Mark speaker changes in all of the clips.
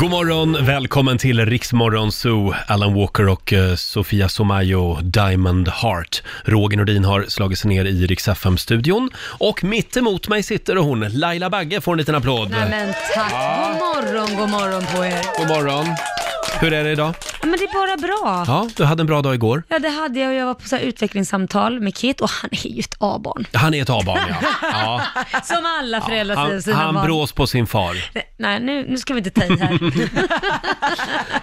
Speaker 1: God morgon, välkommen till Riksmorgon Zoo, Alan Walker och eh, Sofia Somayo, Diamond Heart. Roger Nordin har slagit sig ner i Rix FM-studion och mitt emot mig sitter hon, Laila Bagge får en liten applåd.
Speaker 2: Nej men tack,
Speaker 1: Ah.
Speaker 2: god morgon, god morgon på er.
Speaker 1: God morgon. Hur är det idag?
Speaker 2: Ja, men det är bara bra. Ja.
Speaker 1: Ja, du hade en bra dag igår.
Speaker 2: det hade jag och jag var på så här utvecklingssamtal med Kit och han är ju ett A-barn.
Speaker 1: Han är ett A-barn ja. ja.
Speaker 2: Som alla föräldrar säger
Speaker 1: Han,
Speaker 2: sina
Speaker 1: han
Speaker 2: barn.
Speaker 1: brås på sin far.
Speaker 2: Nej, nu, nu ska vi inte ta i här.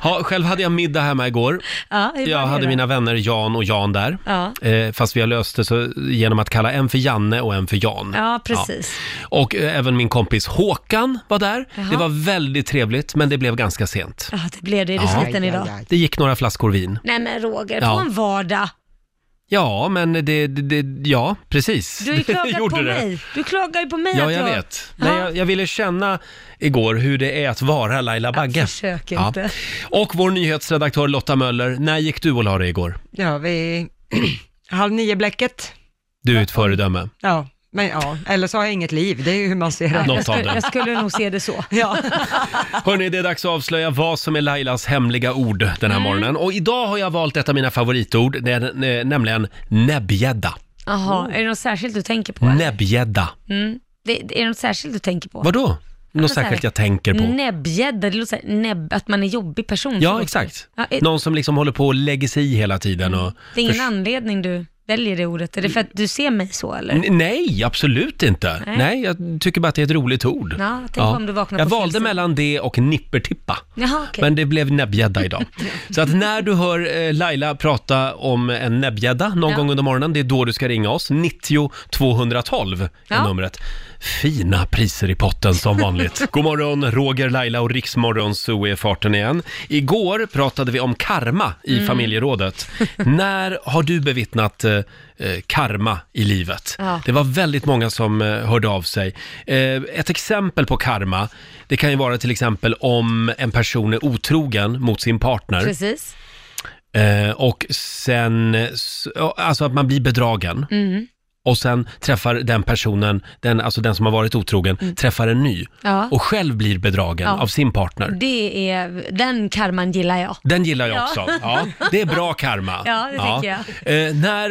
Speaker 1: Ja, själv hade jag middag hemma igår.
Speaker 2: Ja, hur var
Speaker 1: Jag
Speaker 2: det
Speaker 1: hade
Speaker 2: då?
Speaker 1: mina vänner Jan och Jan där.
Speaker 2: Ja.
Speaker 1: Eh, fast vi har löst det så genom att kalla en för Janne och en för Jan.
Speaker 2: Ja, precis.
Speaker 1: Och eh, även min kompis Håkan var där.
Speaker 2: Jaha.
Speaker 1: Det var väldigt trevligt, men det blev ganska sent.
Speaker 2: Ja, det blev det i sluten
Speaker 3: Aj, aj,
Speaker 2: idag.
Speaker 3: aj.
Speaker 1: Det gick några flaskor vin.
Speaker 2: Nej men Roger,
Speaker 1: Ja.
Speaker 2: på en vardag.
Speaker 1: Ja, men det, det, det ja, precis.
Speaker 2: Du har ju
Speaker 1: Det
Speaker 2: klagat
Speaker 1: gjorde
Speaker 2: på
Speaker 1: det.
Speaker 2: mig. Du klagar ju på mig
Speaker 1: Ja,
Speaker 2: att
Speaker 1: jag
Speaker 2: jag...
Speaker 1: vet. Men jag, jag ville känna igår hur det är att vara Laila Bagge.
Speaker 2: försök inte.
Speaker 1: Och vår nyhetsredaktör Lotta Möller, när gick du och la dig igår?
Speaker 3: Ja, vi... Halv nio-bläcket.
Speaker 1: Du är ett föredöme.
Speaker 3: Ja, men ja, eller så har jag inget liv, det är ju hur man ser det.
Speaker 1: Något av
Speaker 2: Jag skulle,
Speaker 1: det.
Speaker 2: jag skulle nog se det så.
Speaker 3: Ja.
Speaker 1: Hörni, det är dags att avslöja vad som är Lailas hemliga ord
Speaker 2: Mm.
Speaker 1: den här morgonen. Och idag har jag valt ett av mina favoritord, det är, eh, nämligen näbbgädda.
Speaker 2: Jaha,
Speaker 1: Mm.
Speaker 2: är det något särskilt du tänker på? eller?
Speaker 1: Näbbgädda.
Speaker 2: Mm. Det, det, är det något särskilt du tänker på?
Speaker 1: Vadå? Något
Speaker 2: så här-
Speaker 1: särskilt jag tänker på?
Speaker 2: Näbbgädda, det låter såhär, näbb, att man är jobbig person.
Speaker 1: Ja, exakt.
Speaker 2: Ja, är,
Speaker 1: Någon som liksom håller på och lägger sig i hela tiden och...
Speaker 2: det är ingen
Speaker 1: förs-
Speaker 2: anledning du väljer det ordet. Är det för att du ser mig så eller?
Speaker 1: N- Nej, absolut inte. Nej.
Speaker 2: Nej.
Speaker 1: jag tycker bara att det är ett roligt ord.
Speaker 2: Ja, tänk om du vaknar
Speaker 1: jag
Speaker 2: på fel
Speaker 1: valde
Speaker 2: sida.
Speaker 1: mellan det och nippertippa.
Speaker 2: Jaha, okej.
Speaker 1: Men det blev näbbgädda idag. Så att när du hör eh, Laila prata om en näbbgädda någon
Speaker 2: Ja.
Speaker 1: gång under morgonen, det är då du ska ringa oss. 90 212 är
Speaker 2: Ja.
Speaker 1: numret. Fina priser i potten som vanligt. God morgon, Roger, Laila och Riksmorgon, så är farten igen. Igår pratade vi om karma i
Speaker 2: Mm.
Speaker 1: familjerådet. när har du bevittnat eh, eh, karma i livet?
Speaker 2: Ja.
Speaker 1: Det var väldigt många som eh, hörde av sig. Eh, ett exempel på karma, det kan ju vara till exempel om en person är otrogen mot sin partner
Speaker 2: Precis.
Speaker 1: eh, och sen, s- ja, alltså att man blir bedragen.
Speaker 2: Mm.
Speaker 1: Och sen träffar den personen, den, alltså den som har varit otrogen, träffar en ny
Speaker 2: Mm. Ja.
Speaker 1: och själv blir bedragen
Speaker 2: Ja.
Speaker 1: av sin partner.
Speaker 2: Det är, den karman gillar jag.
Speaker 1: Den gillar jag
Speaker 2: Ja.
Speaker 1: också. Ja, det är bra karma.
Speaker 2: Ja, det tycker
Speaker 1: jag. Eh, när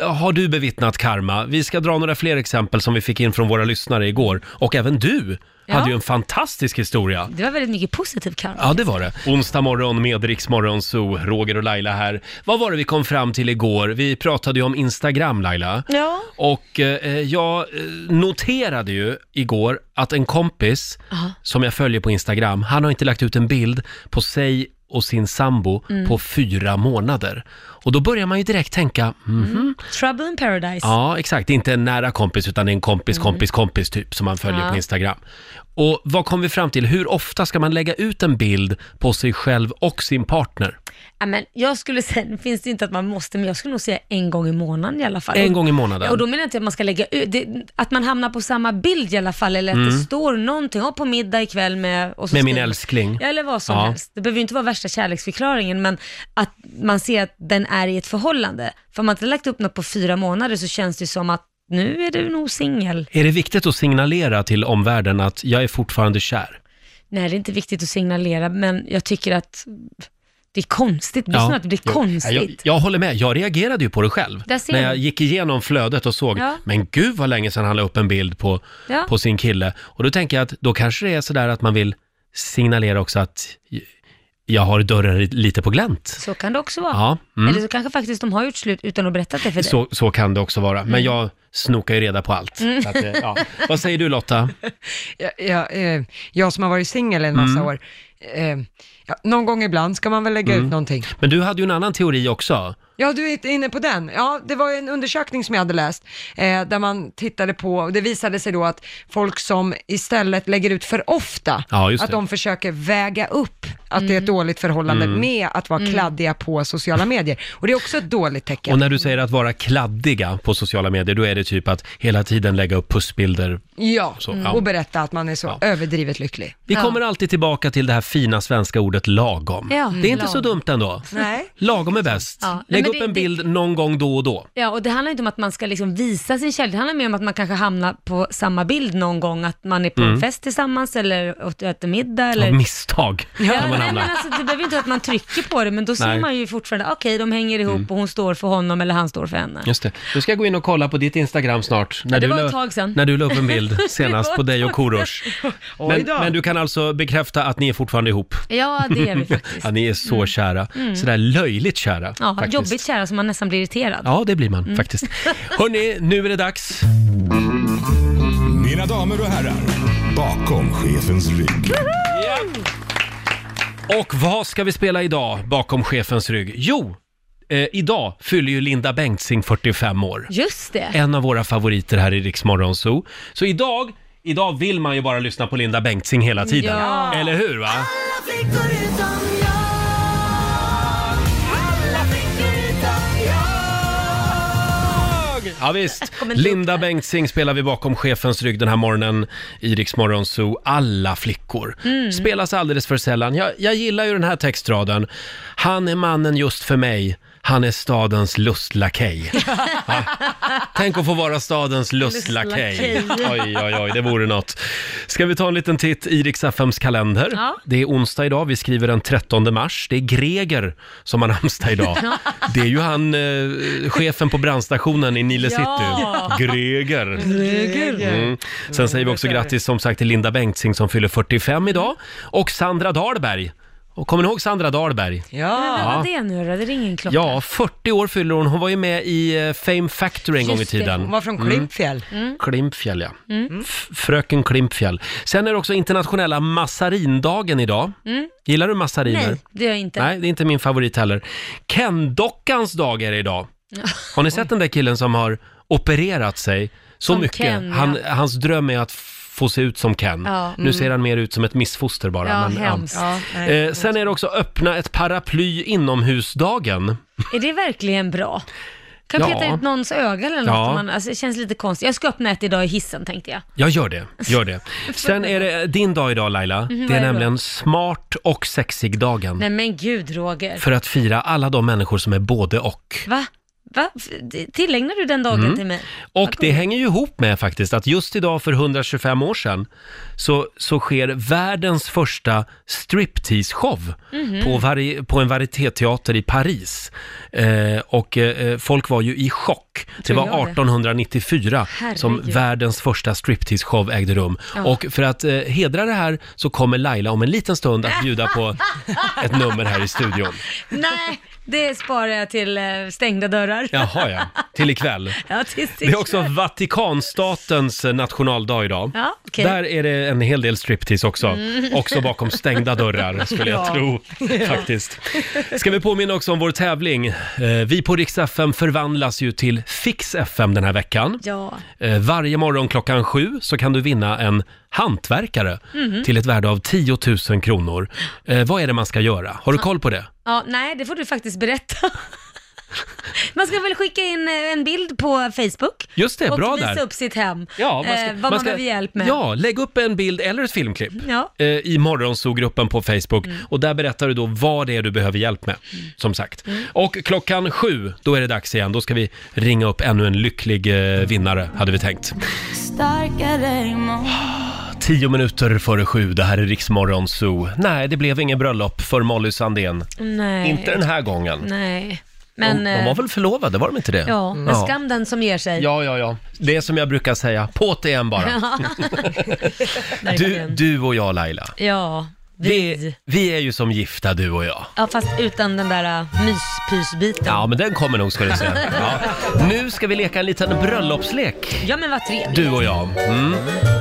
Speaker 1: eh, har du bevittnat karma? Vi ska dra några fler exempel som vi fick in från våra lyssnare igår. Och även du
Speaker 2: Ja.
Speaker 1: hade ju en fantastisk historia.
Speaker 2: Det var väldigt mycket positiv karma.
Speaker 1: Ja, det var det. Onsdag morgon med Rix Morgon Zoo, Roger och Laila här. Vad var det vi kom fram till igår? Vi pratade ju om Instagram, Laila.
Speaker 2: Ja.
Speaker 1: Och eh, jag eh, noterade ju igår att en kompis
Speaker 2: Aha.
Speaker 1: som jag följer på Instagram, han har inte lagt ut en bild på sig och sin sambo
Speaker 2: Mm.
Speaker 1: på fyra månader. Och då börjar man ju direkt tänka, mhm,
Speaker 2: Mm. Trouble in paradise.
Speaker 1: ja exakt, det är inte en nära kompis utan det är en kompis, kompis, kompis typ som man följer
Speaker 2: Mm. Ja.
Speaker 1: på Instagram. Och vad kom vi fram till? Hur ofta ska man lägga ut en bild på sig själv och sin partner?
Speaker 2: Ja, men jag skulle säga, nu finns det ju inte att man måste, men jag skulle nog säga en gång i månaden i alla fall.
Speaker 1: En gång i
Speaker 2: Ja, Och
Speaker 1: månaden.
Speaker 2: då menar jag inte att man ska lägga ut, det, att man hamnar på samma bild i alla fall, eller att det står någonting, ja, på middag ikväll med... Och så
Speaker 1: Mm. Med min
Speaker 2: skriver-
Speaker 1: älskling.
Speaker 2: Ja, eller vad som
Speaker 1: Mm. Ja.
Speaker 2: helst. Det behöver ju inte vara värsta kärleksförklaringen, men att man ser att den är i ett förhållande. För om man inte har lagt upp något på fyra månader så känns det ju som att nu är du nog singel.
Speaker 1: Är det viktigt att signalera till omvärlden att jag är fortfarande kär?
Speaker 2: Nej, det är inte viktigt att signalera, men jag tycker att det är konstigt. Det är snarare att det blir
Speaker 1: Jo.
Speaker 2: konstigt.
Speaker 1: Ja, Jag, jag håller med, jag reagerade ju på det själv.
Speaker 2: Där ser
Speaker 1: När jag
Speaker 2: du.
Speaker 1: gick igenom flödet och såg,
Speaker 2: Ja.
Speaker 1: men gud vad länge sedan han la upp en bild på,
Speaker 2: Ja.
Speaker 1: på sin kille. Och då tänker jag att då kanske det är sådär att man vill signalera också att j- jag har dörren li- lite på glänt.
Speaker 2: Så kan det också vara.
Speaker 1: Ja, mm.
Speaker 2: Eller så kanske faktiskt de har gjort slut utan att berätta det Mm. för dig.
Speaker 1: så, så kan det också vara. Men jag snokar ju reda på allt.
Speaker 2: Mm.
Speaker 1: Så att, eh, ja. Vad säger du Lotta?
Speaker 3: Jag, jag, eh, jag som har varit singel en
Speaker 1: Mm.
Speaker 3: massa år, eh, ja, någon gång ibland ska man väl lägga ut någonting.
Speaker 1: Mm. Men du hade ju en annan teori också.
Speaker 3: Ja, du är inte inne på den. Ja, det var ju en undersökning som jag hade läst, eh, där man tittade på, och det visade sig då att folk som istället lägger ut för ofta,
Speaker 1: Ja, just
Speaker 3: att
Speaker 1: det.
Speaker 3: de försöker väga upp, att det är
Speaker 2: Mm.
Speaker 3: ett dåligt förhållande
Speaker 1: Mm.
Speaker 3: med att vara kladdiga på sociala medier. Och det är också ett dåligt tecken.
Speaker 1: Och när du säger att vara kladdiga på sociala medier, då är det typ att hela tiden lägga upp pussbilder.
Speaker 3: Ja, mm.
Speaker 1: Så, ja.
Speaker 3: och berätta att man är så överdrivet lycklig.
Speaker 1: Vi
Speaker 2: Ja.
Speaker 1: kommer alltid tillbaka till det här fina svenska ordet lagom.
Speaker 2: Ja,
Speaker 1: det är inte så
Speaker 2: lagom.
Speaker 1: dumt ändå.
Speaker 3: Nej.
Speaker 1: Lagom är bäst.
Speaker 2: Ja, nej,
Speaker 1: Lägg
Speaker 2: men
Speaker 1: upp
Speaker 2: det-
Speaker 1: en
Speaker 2: det-
Speaker 1: bild någon gång då och då.
Speaker 2: Ja, och det handlar inte om att man ska liksom visa sin kärlek, det handlar mer om att man kanske hamnar på samma bild någon gång, att man är på
Speaker 1: Mm.
Speaker 2: en fest tillsammans eller åt- äter middag eller...
Speaker 1: Av misstag kan man
Speaker 2: nej,
Speaker 1: hamna.
Speaker 2: men alltså, det behöver inte att man trycker på det, men då ser
Speaker 1: Nej. Mm.
Speaker 2: man ju fortfarande, okej, de hänger ihop och hon står för honom eller han står för henne.
Speaker 1: Just det. Du ska jag gå in och kolla på ditt Instagram snart. När,
Speaker 2: det
Speaker 1: du,
Speaker 2: var
Speaker 1: la-
Speaker 2: ett tag sedan.
Speaker 1: när du la upp en bild senast
Speaker 2: var
Speaker 1: på
Speaker 2: ett
Speaker 1: dig och
Speaker 2: tag
Speaker 1: Korosh. Men,
Speaker 3: då.
Speaker 1: men du kan alltså bekräfta att ni är fortfarande ihop?
Speaker 2: Ja, det är vi faktiskt. Mm.
Speaker 1: Ja, ni är så kära. Sådär löjligt kära.
Speaker 2: Ja,
Speaker 1: faktiskt.
Speaker 2: jobbigt kära som man nästan blir irriterad.
Speaker 1: Ja, det blir man faktiskt. Hörni, nu är det dags.
Speaker 4: Mina damer och herrar, bakom chefens rygg.
Speaker 1: Och vad ska vi spela idag bakom chefens rygg? Jo, eh, idag fyller ju Linda Bengtzing 45 år.
Speaker 2: Just det.
Speaker 1: En av våra favoriter här i Rix Morgon Zoo. Så idag, idag vill man ju bara lyssna på Linda Bengtzing hela tiden.
Speaker 2: Ja.
Speaker 1: Eller hur va? Ja, visst. Linda Bengtzing spelar vi bakom chefens rygg den här morgonen i Rix Morgon Zoo. Alla flickor. Spelas alldeles för sällan. Jag, jag gillar ju den här textraden. Han är mannen just för mig. Han är stadens lustlakej. Ja. Tänk att få vara stadens lustlakej. Oj, oj, oj, det vore något. Ska vi ta en liten titt i Rix FMs kalender?
Speaker 2: Ja.
Speaker 1: Det är onsdag idag, vi skriver den 13 mars. Det är Greger som har namnsdag idag. Det är ju han, eh, chefen på brandstationen i Nile City.
Speaker 2: Ja.
Speaker 1: Greger. Mm. Sen säger vi också grattis som sagt till Linda Bengtzing som fyller 45 idag. Och Sandra Dahlberg. Och kommer ni ihåg Sandra Dahlberg?
Speaker 2: Men
Speaker 3: Ja.
Speaker 2: vad var det nu då? Det ringer en klocka.
Speaker 1: Ja, 40 år fyller hon. Hon var ju med i eh, Fame Factory en gång i
Speaker 2: Just det. Mm.
Speaker 1: tiden. Mm.
Speaker 3: Hon var från Klimpfjäll.
Speaker 1: Klimpfjäll, ja. F- Fröken Klimpfjäll. Sen är det också internationella massarindagen idag. Gillar du massariner?
Speaker 2: Nej, det gör jag inte.
Speaker 1: Mm. Nej, det är inte min favorit heller. Ken-dockans dag är det idag. Har ni sett den där killen som har opererat sig så
Speaker 2: Som
Speaker 1: mycket?
Speaker 2: Ken, ja.
Speaker 1: han, hans dröm är att få se ut som Ken.
Speaker 2: Ja. mm.
Speaker 1: Nu ser han mer ut som ett missfoster bara.
Speaker 2: Ja,
Speaker 1: men,
Speaker 2: hemskt.
Speaker 3: Ja, nej.
Speaker 1: Eh, sen är det också öppna ett paraply inomhusdagen.
Speaker 2: Är det verkligen bra? Kan
Speaker 1: Ja.
Speaker 2: peta ut någons öga eller något?
Speaker 1: Ja.
Speaker 2: om Man, alltså, det känns lite konstigt. Jag ska öppna ett idag i hissen tänkte jag.
Speaker 1: Ja, gör det. Gör det. Sen är det din dag idag Laila. det
Speaker 2: Mhm. vad
Speaker 1: är
Speaker 2: är det då?
Speaker 1: nämligen smart och sexig-dagen.
Speaker 2: Nej men gud Roger.
Speaker 1: Mm. För att fira alla de människor som är både och.
Speaker 2: Va? Va? F- det- Tillägnar du den dagen
Speaker 1: Mm.
Speaker 2: till mig?
Speaker 1: Och det hänger ju ihop med faktiskt att just idag för 125 år sedan så, så sker världens första striptease-show
Speaker 2: Mhm.
Speaker 1: på, vari, på en varietéteater i Paris. Eh, och eh, folk var ju i chock. Det var
Speaker 2: jag det.
Speaker 1: 1894 som
Speaker 2: Herregud.
Speaker 1: världens första striptease-show ägde rum. Och för att eh, hedra det här så kommer Laila om en liten stund att bjuda på ett nummer här i studion.
Speaker 2: Nej, det sparar jag till eh, stängda dörrar. Ja,
Speaker 1: Jaha ja, till ikväll.
Speaker 2: till sist.
Speaker 1: Det är också Vatikanstatens eh, nationaldag idag.
Speaker 2: Ja, okej. Mm.
Speaker 1: Där är det en hel del striptease också. Också bakom stängda dörrar skulle jag tro faktiskt. Ska vi påminna också om vår tävling. Eh, Vi på Rix FM förvandlas ju till Fix FM den här veckan.
Speaker 2: Ja,
Speaker 1: Eh, Varje morgon klockan sju så kan du vinna en hantverkare
Speaker 2: Mhm.
Speaker 1: till ett värde av 10 000 kronor. Eh, Vad är det man ska göra? Har du koll på det?
Speaker 2: ja, nej det får du faktiskt berätta. Man ska väl skicka in eh, en bild på Facebook
Speaker 1: Just det,
Speaker 2: och
Speaker 1: bra
Speaker 2: visa
Speaker 1: där.
Speaker 2: upp sitt hem,
Speaker 1: Ja,
Speaker 2: eh, vad man, behöver hjälp med.
Speaker 1: Ja, lägg upp en bild eller ett filmklipp
Speaker 2: Ja.
Speaker 1: eh, i morgonzoo-gruppen på Facebook.
Speaker 2: Mm.
Speaker 1: Och där berättar du då vad det är du behöver hjälp med, som sagt.
Speaker 2: Mm.
Speaker 1: Och klockan sju, då är det dags igen. Då ska vi ringa upp ännu en lycklig eh, vinnare, hade vi tänkt. Tio minuter före sju, det här är Riksmorgon Zoo. Nej, det blev ingen bröllop för Molly Sandén.
Speaker 2: Nej.
Speaker 1: Inte den här gången.
Speaker 2: Nej,
Speaker 1: De,
Speaker 2: men...
Speaker 1: de var
Speaker 2: eh,
Speaker 1: väl förlovade, var de inte det? Mm.
Speaker 2: Ja, men skam den som ger sig.
Speaker 1: Ja, ja, ja. Det är som jag brukar säga, på't det igen bara. Du,
Speaker 2: verkligen.
Speaker 1: du och jag Laila,
Speaker 2: Ja,
Speaker 1: vi,
Speaker 2: vi.
Speaker 1: vi är ju som gifta du och jag.
Speaker 2: Ja, fast utan den där uh, myspysbiten.
Speaker 1: Ja, men den kommer nog ska du se. Ja. Nu ska vi leka en liten bröllopslek,
Speaker 2: Ja, men vad trevligt.
Speaker 1: du och jag. Mm.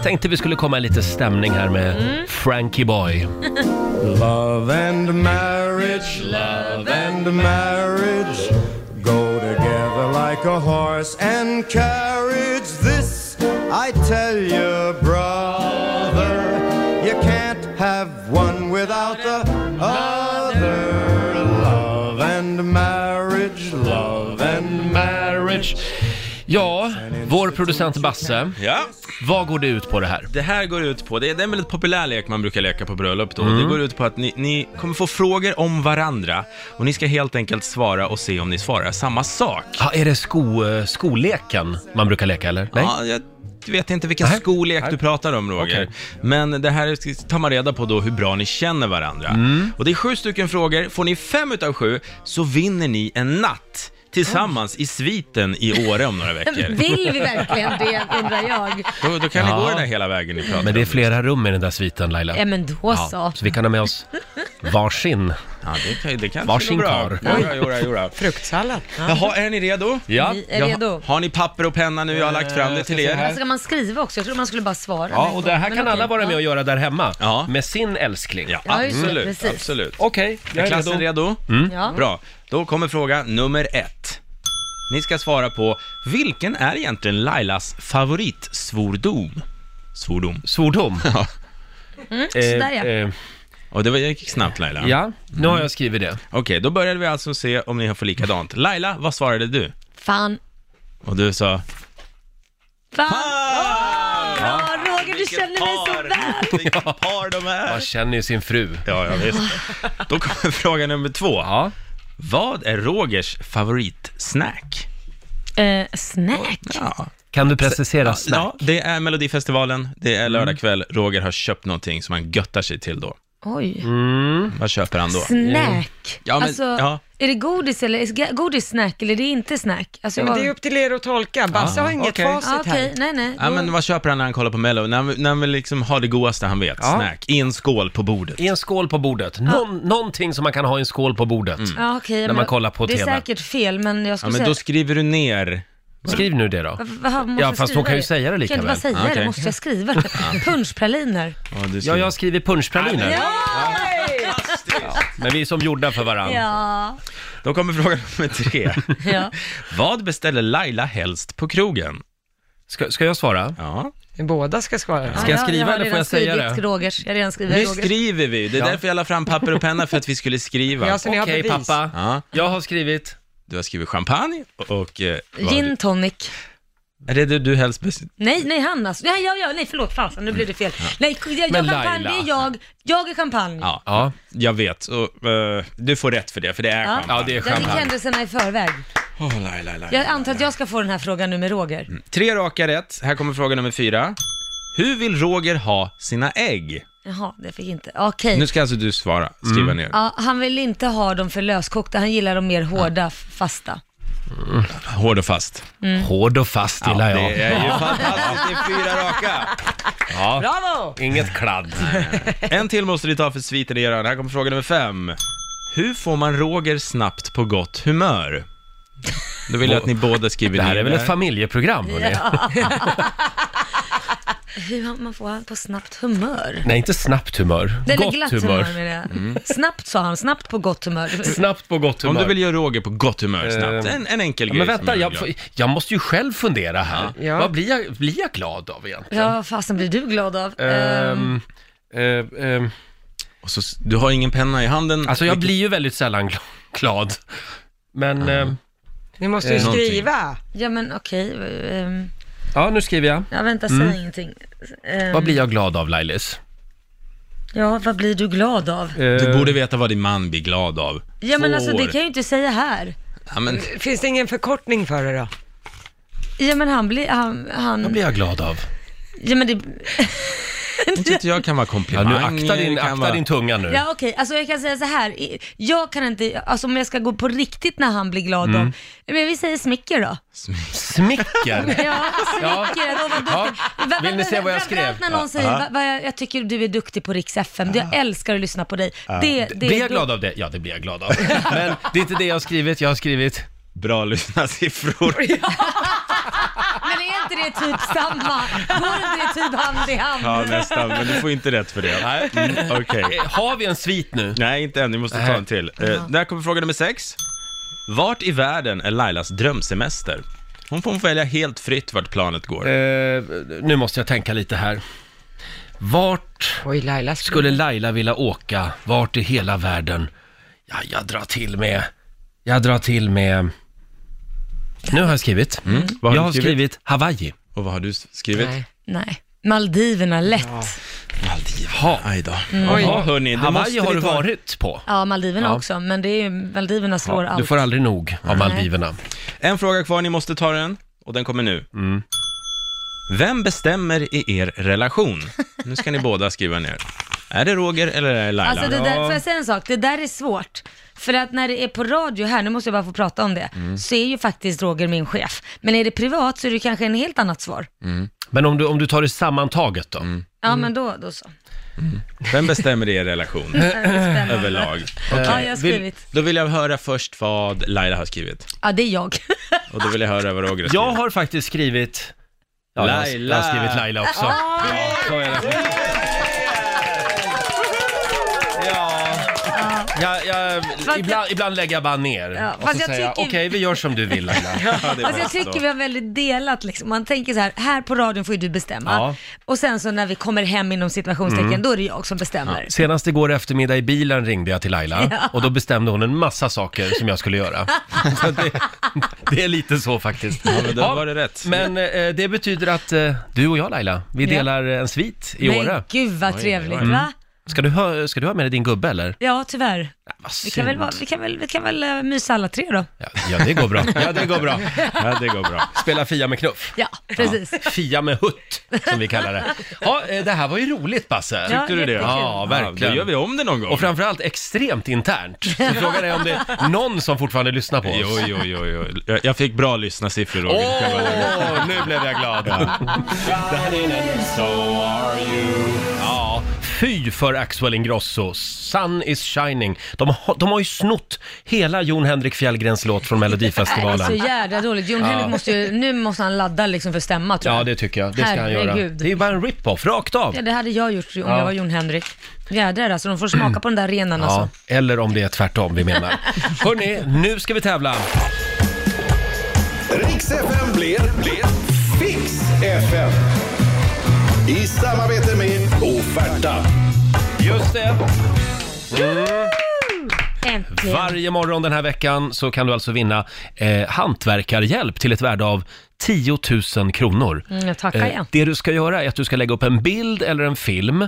Speaker 1: Tänkte vi skulle komma i lite stämning här med
Speaker 2: Mm.
Speaker 1: Frankie Boy.
Speaker 4: Love and marriage, love and marriage go together like a horse and carriage. This I tell you, brother, you can't have one without the other. Love and marriage, love and marriage.
Speaker 1: Ja, vår producent Basse.
Speaker 5: Ja.
Speaker 1: Vad går det ut på det här?
Speaker 5: Det här går ut på, det är det är en väldigt populär lek man brukar leka på bröllop då.
Speaker 1: Mm.
Speaker 5: Det går ut på att ni, ni kommer få frågor om varandra och ni ska helt enkelt svara och se om ni svarar samma sak.
Speaker 1: Ja, är det sko, eh, skolleken man brukar leka eller? Nej?
Speaker 5: Ja, jag vet inte vilken skolek du pratar om Roger.
Speaker 1: Okej.
Speaker 5: Men det här tar man reda på då hur bra ni känner varandra.
Speaker 1: Mm.
Speaker 5: Och det är sju stycken frågor. Får ni fem utav sju så vinner ni en natt tillsammans i sviten i Åre om några veckor.
Speaker 2: Vill vi verkligen det, undrar jag.
Speaker 5: Då, då kan ni
Speaker 1: Ja.
Speaker 5: gå den där hela vägen ni pratar
Speaker 1: Men det är
Speaker 5: om.
Speaker 1: flera rum i den där sviten Laila.
Speaker 2: Ja, men då så.
Speaker 1: Ja, så vi kan ha med oss varsin.
Speaker 5: Ja, det kan, det kan
Speaker 1: Varsin
Speaker 5: karl.
Speaker 1: karl.
Speaker 5: Jodå, jodå, jodå.
Speaker 3: Fruktsallad.
Speaker 5: Jaha, är ni redo?
Speaker 1: Ja,
Speaker 2: Vi är
Speaker 1: jag-
Speaker 2: redo.
Speaker 5: Har ni papper och penna nu? Jag har lagt fram det till
Speaker 2: Men
Speaker 5: er.
Speaker 2: Ska man skriva också? Jag tror man skulle bara svara.
Speaker 1: Ja, och det här
Speaker 2: Men
Speaker 1: kan
Speaker 2: okej.
Speaker 1: alla vara med och göra där hemma.
Speaker 5: Ja.
Speaker 1: Med sin älskling.
Speaker 5: Ja,
Speaker 2: Ja, just det,
Speaker 5: absolut.
Speaker 2: precis.
Speaker 5: absolut.
Speaker 1: Okej,
Speaker 5: Är
Speaker 1: jag är
Speaker 5: klassen
Speaker 1: redo. Mm.
Speaker 5: redo? Mm.
Speaker 2: Ja.
Speaker 5: Bra. Då kommer fråga nummer ett. Ni ska svara på, vilken är egentligen Lailas favoritsvordom? Svordom.
Speaker 1: Svordom.
Speaker 2: Mm. sådär, ja.
Speaker 1: eh,
Speaker 5: Och det var- det gick snabbt Laila. Mm.
Speaker 1: ja, nu har jag skrivit det.
Speaker 5: Okej, då började vi alltså se om ni har fått likadant. Laila, vad svarade du?
Speaker 2: Fan.
Speaker 5: Och du sa...
Speaker 2: Fan.
Speaker 5: Ah!
Speaker 2: Ja, Roger, du känner mig så väl.
Speaker 5: Vilket par de är!
Speaker 1: Man känner ju sin fru.
Speaker 5: Ja, ja visst. Då kommer fråga nummer två.
Speaker 1: Ja.
Speaker 5: Vad är Rogers favoritsnack?
Speaker 2: Eh, snack.
Speaker 5: Ja,
Speaker 1: Kan du precisera snabbt?
Speaker 5: ja, det är Melodifestivalen, det är
Speaker 1: Mm.
Speaker 5: lördag kväll, Roger har köpt någonting som han göttar sig till då. Mm.
Speaker 2: Oj.
Speaker 1: Mm.
Speaker 5: Vad köper han då?
Speaker 2: Snack.
Speaker 5: Ja, men-
Speaker 2: alltså,
Speaker 5: ja.
Speaker 2: är det godis eller är godis snack eller är det inte snack? Alltså,
Speaker 3: Men
Speaker 2: jag-
Speaker 3: det är upp till er att tolka. Basse har
Speaker 1: Ah,
Speaker 3: inget
Speaker 5: okej.
Speaker 2: Ja,
Speaker 3: facit
Speaker 2: okej,
Speaker 3: här.
Speaker 2: nej, nej.
Speaker 5: Ja,
Speaker 2: Då-
Speaker 5: men vad köper han när han kollar på Mello? När han, när han vill liksom ha det godaste han vet, snack, i en skål på bordet.
Speaker 1: I en skål på bordet. Någon, Någonting som man kan ha i en skål på bordet.
Speaker 5: Mm.
Speaker 2: ja, okej,
Speaker 1: Mm. när
Speaker 2: men
Speaker 1: man kollar på
Speaker 2: Det är
Speaker 1: TV.
Speaker 2: säkert fel, men jag
Speaker 5: Ja,
Speaker 2: skulle
Speaker 5: men
Speaker 2: säga...
Speaker 5: då skriver du ner.
Speaker 1: Skriv nu det då.
Speaker 2: Varför- varför måste
Speaker 1: Ja,
Speaker 2: jag
Speaker 1: fast
Speaker 2: skriva
Speaker 1: hon kan ju säga det lika
Speaker 2: Kan jag
Speaker 1: väl.
Speaker 2: inte bara säga
Speaker 5: Okej.
Speaker 2: det? Måste jag skriva det? Punschpraliner.
Speaker 5: Ja, du
Speaker 1: Ja,
Speaker 5: skriver.
Speaker 1: jag skriver punschpraliner.
Speaker 3: Hej!
Speaker 1: Men vi är som gjorda för varandra.
Speaker 2: Ja.
Speaker 5: Då kommer fråga nummer tre.
Speaker 2: ja.
Speaker 5: vad beställer Laila helst på krogen?
Speaker 1: Ska, ska jag svara?
Speaker 5: Ja.
Speaker 3: Båda ska svara.
Speaker 1: Ska jag skriva
Speaker 2: har
Speaker 1: eller får
Speaker 2: redan
Speaker 1: jag säga
Speaker 2: skrivit
Speaker 1: det?
Speaker 2: Rogers. Jag har redan skrivit
Speaker 5: Nu
Speaker 2: Rogers.
Speaker 5: skriver vi, det är därför jag la fram papper och penna för att vi skulle skriva.
Speaker 3: Ja, så ni har
Speaker 1: Okej
Speaker 3: bevis.
Speaker 1: pappa,
Speaker 5: Ja.
Speaker 1: jag har skrivit.
Speaker 5: Du har skrivit champagne och... Eh, vad har
Speaker 2: Gin tonic.
Speaker 5: du- Är det det du helst bes-
Speaker 2: Nej, nej han alltså. Nej, jag, jag, nej förlåt, fasen nu blev det fel. Nej, jag, jag,
Speaker 1: Men
Speaker 2: champagne,
Speaker 1: Laila.
Speaker 2: det är jag. Jag är champagne.
Speaker 5: Ja,
Speaker 1: Ja.
Speaker 5: jag vet. Så, eh, du får rätt för det, för det är
Speaker 2: Ja.
Speaker 5: champagne.
Speaker 1: Ja, det är
Speaker 2: Jag fick
Speaker 1: champagne.
Speaker 2: händelserna i förväg.
Speaker 5: Åh, Laila, Laila,
Speaker 2: Jag
Speaker 5: Laila.
Speaker 2: antar att jag ska få den här frågan nu med Roger.
Speaker 1: Mm.
Speaker 5: Tre raka rätt. Här kommer fråga nummer fyra. Hur vill Roger ha sina ägg?
Speaker 2: Jaha, det fick inte. Okej.
Speaker 5: Nu ska alltså du svara, skriva
Speaker 1: Mm.
Speaker 5: ner.
Speaker 2: Ja, han vill inte ha dem för löskokta, han gillar dem mer hårda, f- fasta.
Speaker 1: Mm.
Speaker 5: Hård och fast.
Speaker 1: Hård och fast gillar jag.
Speaker 5: Mm. Det är ju fantastiskt, det är fyra raka.
Speaker 3: Bravo!
Speaker 1: Inget kladd.
Speaker 5: En till måste ni ta för sviten er. Här kommer fråga nummer fem. Hur får man Roger snabbt på gott humör? Då vill jag att ni båda skriver
Speaker 1: Det här
Speaker 5: ner
Speaker 1: är väl ett familjeprogram? hörni?
Speaker 2: Hur har man får han på snabbt humör?
Speaker 1: Nej, inte snabbt humör.
Speaker 2: Nej, det är
Speaker 1: gott
Speaker 2: glatt
Speaker 1: humör. Mm.
Speaker 2: humör, menar jag. Snabbt sa han, snabbt på gott humör.
Speaker 1: Snabbt på gott
Speaker 5: Mm. Om
Speaker 1: humör.
Speaker 5: du vill göra Roger på gott humör snabbt.
Speaker 1: Eh,
Speaker 5: En, en enkel
Speaker 1: Ja,
Speaker 5: grej.
Speaker 1: men
Speaker 5: som
Speaker 1: vänta,
Speaker 5: gör
Speaker 1: jag,
Speaker 5: glad.
Speaker 1: jag måste ju själv fundera här.
Speaker 3: Ja.
Speaker 1: Vad blir jag, blir jag glad av egentligen?
Speaker 2: Ja, vad fasen blir du glad av? Ehm,
Speaker 1: Ehm, ehm, ehm,
Speaker 5: Och så, s- du har ingen penna i handen.
Speaker 1: alltså jag
Speaker 5: Vilket-
Speaker 1: blir ju väldigt sällan gl- glad. Men, ehm,
Speaker 3: Ni måste ju
Speaker 5: Eh, någonting.
Speaker 3: skriva.
Speaker 2: ja men okej, ehm,
Speaker 1: ja nu skriver jag. Mm.
Speaker 2: ja vänta, säg ingenting. Ehm,
Speaker 1: Vad blir jag glad av Lailis? Eh.
Speaker 2: Ja, vad blir du glad av?
Speaker 5: Du borde veta vad din man blir glad av.
Speaker 2: Ja men
Speaker 5: Två
Speaker 2: alltså det
Speaker 5: år.
Speaker 2: kan jag ju inte säga här.
Speaker 5: Ja, men,
Speaker 3: Finns det ingen förkortning för det då?
Speaker 2: Ja men han blir, han,
Speaker 1: Vad
Speaker 2: han
Speaker 1: blir jag glad av?
Speaker 2: ja men det,
Speaker 5: jag tyckte jag kan vara
Speaker 1: Ja,
Speaker 5: komplimanger.
Speaker 1: nu akta din,
Speaker 5: det kan
Speaker 1: akta
Speaker 5: vara-
Speaker 1: din tunga nu.
Speaker 2: ja okej, alltså jag kan säga så här, I- jag kan inte, alltså om jag ska gå på riktigt när han blir glad
Speaker 1: Mm.
Speaker 2: av, men vi säger smicker då.
Speaker 1: Smicker!
Speaker 2: Ja, smicker, ja. vad duktig.
Speaker 1: Ja.
Speaker 2: Va- va-
Speaker 1: Vill ni se vad jag skrev?
Speaker 2: Framförallt när någon säger, va, va, jag, jag tycker du är duktig på Rix FM, jag älskar att lyssna på dig. Det, det,
Speaker 1: Blir jag glad av det? Ja, det blir jag glad av. Men det är inte det jag har skrivit. Jag har skrivit...
Speaker 5: Bra lyssnarsiffror.
Speaker 2: Men är inte det typ samma? Går inte det typ hand i hand?
Speaker 5: Ja, nästan. Men du får inte rätt för det.
Speaker 1: Nej.
Speaker 5: Mm, Okej.
Speaker 1: Eh, Har vi en svit nu?
Speaker 5: Nej, inte än. Vi måste ta en till. Eh, där kommer fråga nummer sex. Vart i världen är Lailas drömsemester? Hon får välja helt fritt vart planet går.
Speaker 1: Eh, nu måste jag tänka lite här. Vart
Speaker 3: Oj, Laila skulle...
Speaker 1: skulle Laila vilja åka? Vart i hela världen? Ja, jag drar till med... Jag drar till med... Nu har jag skrivit.
Speaker 5: Mm. Vad har
Speaker 1: jag
Speaker 5: du
Speaker 1: har skrivit,
Speaker 5: skrivit?
Speaker 1: Hawaii.
Speaker 5: Och vad har du s- skrivit?
Speaker 3: Nej.
Speaker 2: Nej. Maldiverna, lätt. Mm.
Speaker 5: Maldiverna. Aj då.
Speaker 3: Oj.
Speaker 5: Jaha, hörni. det
Speaker 1: Hawaii
Speaker 5: måste
Speaker 1: har
Speaker 5: vi
Speaker 1: du
Speaker 5: ta-
Speaker 1: varit på.
Speaker 2: Ja, Maldiverna också, men det är ju, Maldiverna slår
Speaker 1: Du
Speaker 2: allt.
Speaker 1: får aldrig nog av Maldiverna.
Speaker 5: En fråga kvar, ni måste ta den. Och den kommer nu.
Speaker 1: Mm.
Speaker 5: Vem bestämmer i er relation? Nu ska ni båda skriva ner. Är det Roger eller är det Laila?
Speaker 2: Alltså det där, får jag säga en sak? Det där är svårt. För att när det är på radio här, nu måste jag bara få prata om det,
Speaker 1: Mm.
Speaker 2: så är ju faktiskt Roger min chef. Men är det privat så är det kanske en helt annat svar.
Speaker 5: Mm.
Speaker 1: Men om du, om du tar det sammantaget då?
Speaker 2: Ja, men då, då så.
Speaker 5: Vem bestämmer i er relation överlag?
Speaker 2: Ja, jag har
Speaker 5: Vill,
Speaker 2: skrivit.
Speaker 5: då vill jag höra först vad Laila har skrivit.
Speaker 2: Ja, det är jag.
Speaker 5: Och då vill jag höra vad Roger har skrivit.
Speaker 1: Jag har faktiskt skrivit... Ja, jag har- Jag har
Speaker 5: Laila.
Speaker 1: skrivit Laila också. Ja, så är det. Ja. Jag, jag,
Speaker 2: jag-
Speaker 1: ibland, ibland lägger jag bara ner
Speaker 2: Ja,
Speaker 1: och så
Speaker 2: fast jag
Speaker 1: säger jag, okej
Speaker 2: tycker-
Speaker 1: vi gör som du vill Laila.
Speaker 5: Ja, det är
Speaker 2: Alltså jag
Speaker 5: bäst då.
Speaker 2: tycker vi har väldigt delat liksom. Man tänker så här, här på radion får ju du bestämma.
Speaker 1: Ja. Mm.
Speaker 2: Och sen så när vi kommer hem inom situationstecken, då är det jag som bestämmer.
Speaker 1: Senast igår eftermiddag i bilen ringde jag till Laila och då bestämde hon en massa saker som jag skulle göra. Så det, det är lite så faktiskt.
Speaker 5: Ja, men då var det rätt.
Speaker 1: Men eh, det betyder att eh, du och jag Laila, vi
Speaker 2: Ja.
Speaker 1: delar en svit i
Speaker 2: Men
Speaker 1: Åre. Mm.
Speaker 2: gud vad trevligt va?
Speaker 1: Ska du, ha, ska du ha med dig din gubbe eller?
Speaker 2: Ja, tyvärr.
Speaker 1: Vad
Speaker 2: Vi kan väl,
Speaker 1: synd.
Speaker 2: vara- vi kan väl, vi kan väl eh, mysa alla tre då?
Speaker 1: Ja, ja, det går bra. Ja, det går bra.
Speaker 5: Ja, det går bra.
Speaker 1: Spela Fia med knuff.
Speaker 2: Ja, precis.
Speaker 1: Fia med hutt, som vi kallar det. Ja, eh, det här var ju roligt Basse.
Speaker 2: Ja,
Speaker 5: Tyckte du det?
Speaker 2: jättekul.
Speaker 1: Ja,
Speaker 5: Ja, då gör
Speaker 1: verkligen.
Speaker 5: vi om det någon gång.
Speaker 1: Och framförallt extremt internt. Så frågan är om det är någon som fortfarande lyssnar på
Speaker 5: Jo,
Speaker 1: oss.
Speaker 5: jo, jo, jo. Jag- Jag fick bra lyssnarsiffror, Roger.
Speaker 1: Åh, nu blev jag glad. Ja, fy för Axel Ingrosso. Sun is shining. De har, de har ju snott hela Jon Henrik Fjällgrens låt från
Speaker 2: Det är så
Speaker 1: Melodifestivalen.
Speaker 2: jävla dåligt. Jon Henrik måste ju, nu måste han ladda liksom för stämma tror jag.
Speaker 1: Ja, det tycker jag. Det ska han göra.
Speaker 2: Herregud.
Speaker 1: Det är ju bara en rip-off, rakt av.
Speaker 2: Ja, det hade jag gjort om jag var Jon Henrik. Jädrar alltså, de får smaka på den där renen
Speaker 1: Ja,
Speaker 2: alltså.
Speaker 1: eller om det är tvärtom vi menar. Hörni, nu ska vi tävla.
Speaker 6: Riks FM blir, blir Fix FM. I samarbete med Oferta.
Speaker 1: Just det.
Speaker 2: Äntligen.
Speaker 1: Varje morgon den här veckan så kan du alltså vinna eh, hantverkarhjälp till ett värde av 10 000 kronor.
Speaker 2: Mm, jag tackar
Speaker 1: Eh,
Speaker 2: jag.
Speaker 1: det du ska göra är att du ska lägga upp en bild eller en film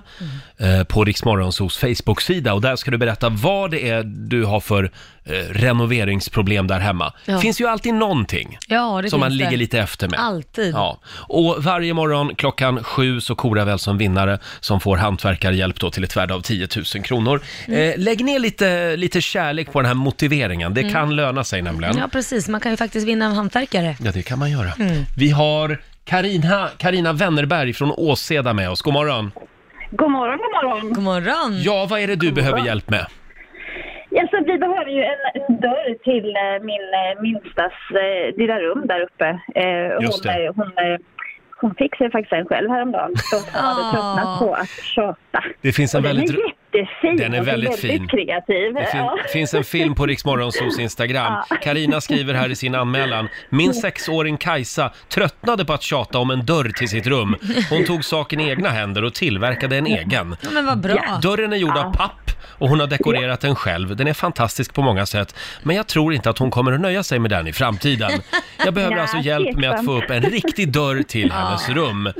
Speaker 2: Mm.
Speaker 1: eh, på Riksmorgonsos Facebook-sida och där ska du berätta vad det är du har för eh, renoveringsproblem där hemma. Det
Speaker 2: Ja.
Speaker 1: finns ju alltid någonting
Speaker 2: Ja, det
Speaker 1: som man
Speaker 2: finns det.
Speaker 1: ligger lite efter med.
Speaker 2: Alltid.
Speaker 1: Ja. Och varje morgon klockan sju så korar vi alltså en vinnare som får hantverkarhjälp då till ett värde av 10 000 kronor.
Speaker 2: Mm.
Speaker 1: Eh, lägg ner lite, lite kärlek på den här motiveringen, det kan löna sig nämligen.
Speaker 2: Mm. Ja, Mm. precis. Man kan ju faktiskt vinna en hantverkare.
Speaker 1: Ja, det kan man göra. Vi har Karina, Karina Wennerberg från Åseda med oss. God morgon.
Speaker 7: God morgon, god morgon.
Speaker 2: God morgon.
Speaker 1: Ja, vad är det du behöver hjälp med?
Speaker 7: Ja, så vi behöver ju en, en dörr till eh, min eh, minstas eh, lilla rum där uppe. Eh,
Speaker 1: Just
Speaker 7: hon,
Speaker 1: det.
Speaker 7: eh, hon, eh, hon fixade faktiskt en själv häromdagen. Hon
Speaker 2: Ah.
Speaker 7: hade tröttnat på att tjata.
Speaker 1: Det finns en
Speaker 7: Och den är
Speaker 1: väldigt...
Speaker 7: jättefin.
Speaker 1: Den är
Speaker 7: och
Speaker 1: väldigt fin.
Speaker 7: kreativ.
Speaker 1: Det fin,
Speaker 7: ja.
Speaker 1: finns en film på Riksmorgonsos Instagram. Karina skriver här i sin anmälan. Min sexåring Kajsa tröttnade på att tjata om en dörr till sitt rum. Hon tog saken i egna händer och tillverkade en egen.
Speaker 2: Ja, men vad bra.
Speaker 1: Dörren är gjord av papp och hon har dekorerat den själv. Den är fantastisk på många sätt, men jag tror inte att hon kommer att nöja sig med den i framtiden. Jag behöver
Speaker 7: Nej,
Speaker 1: alltså hjälp med att få upp en riktig dörr till hennes rum.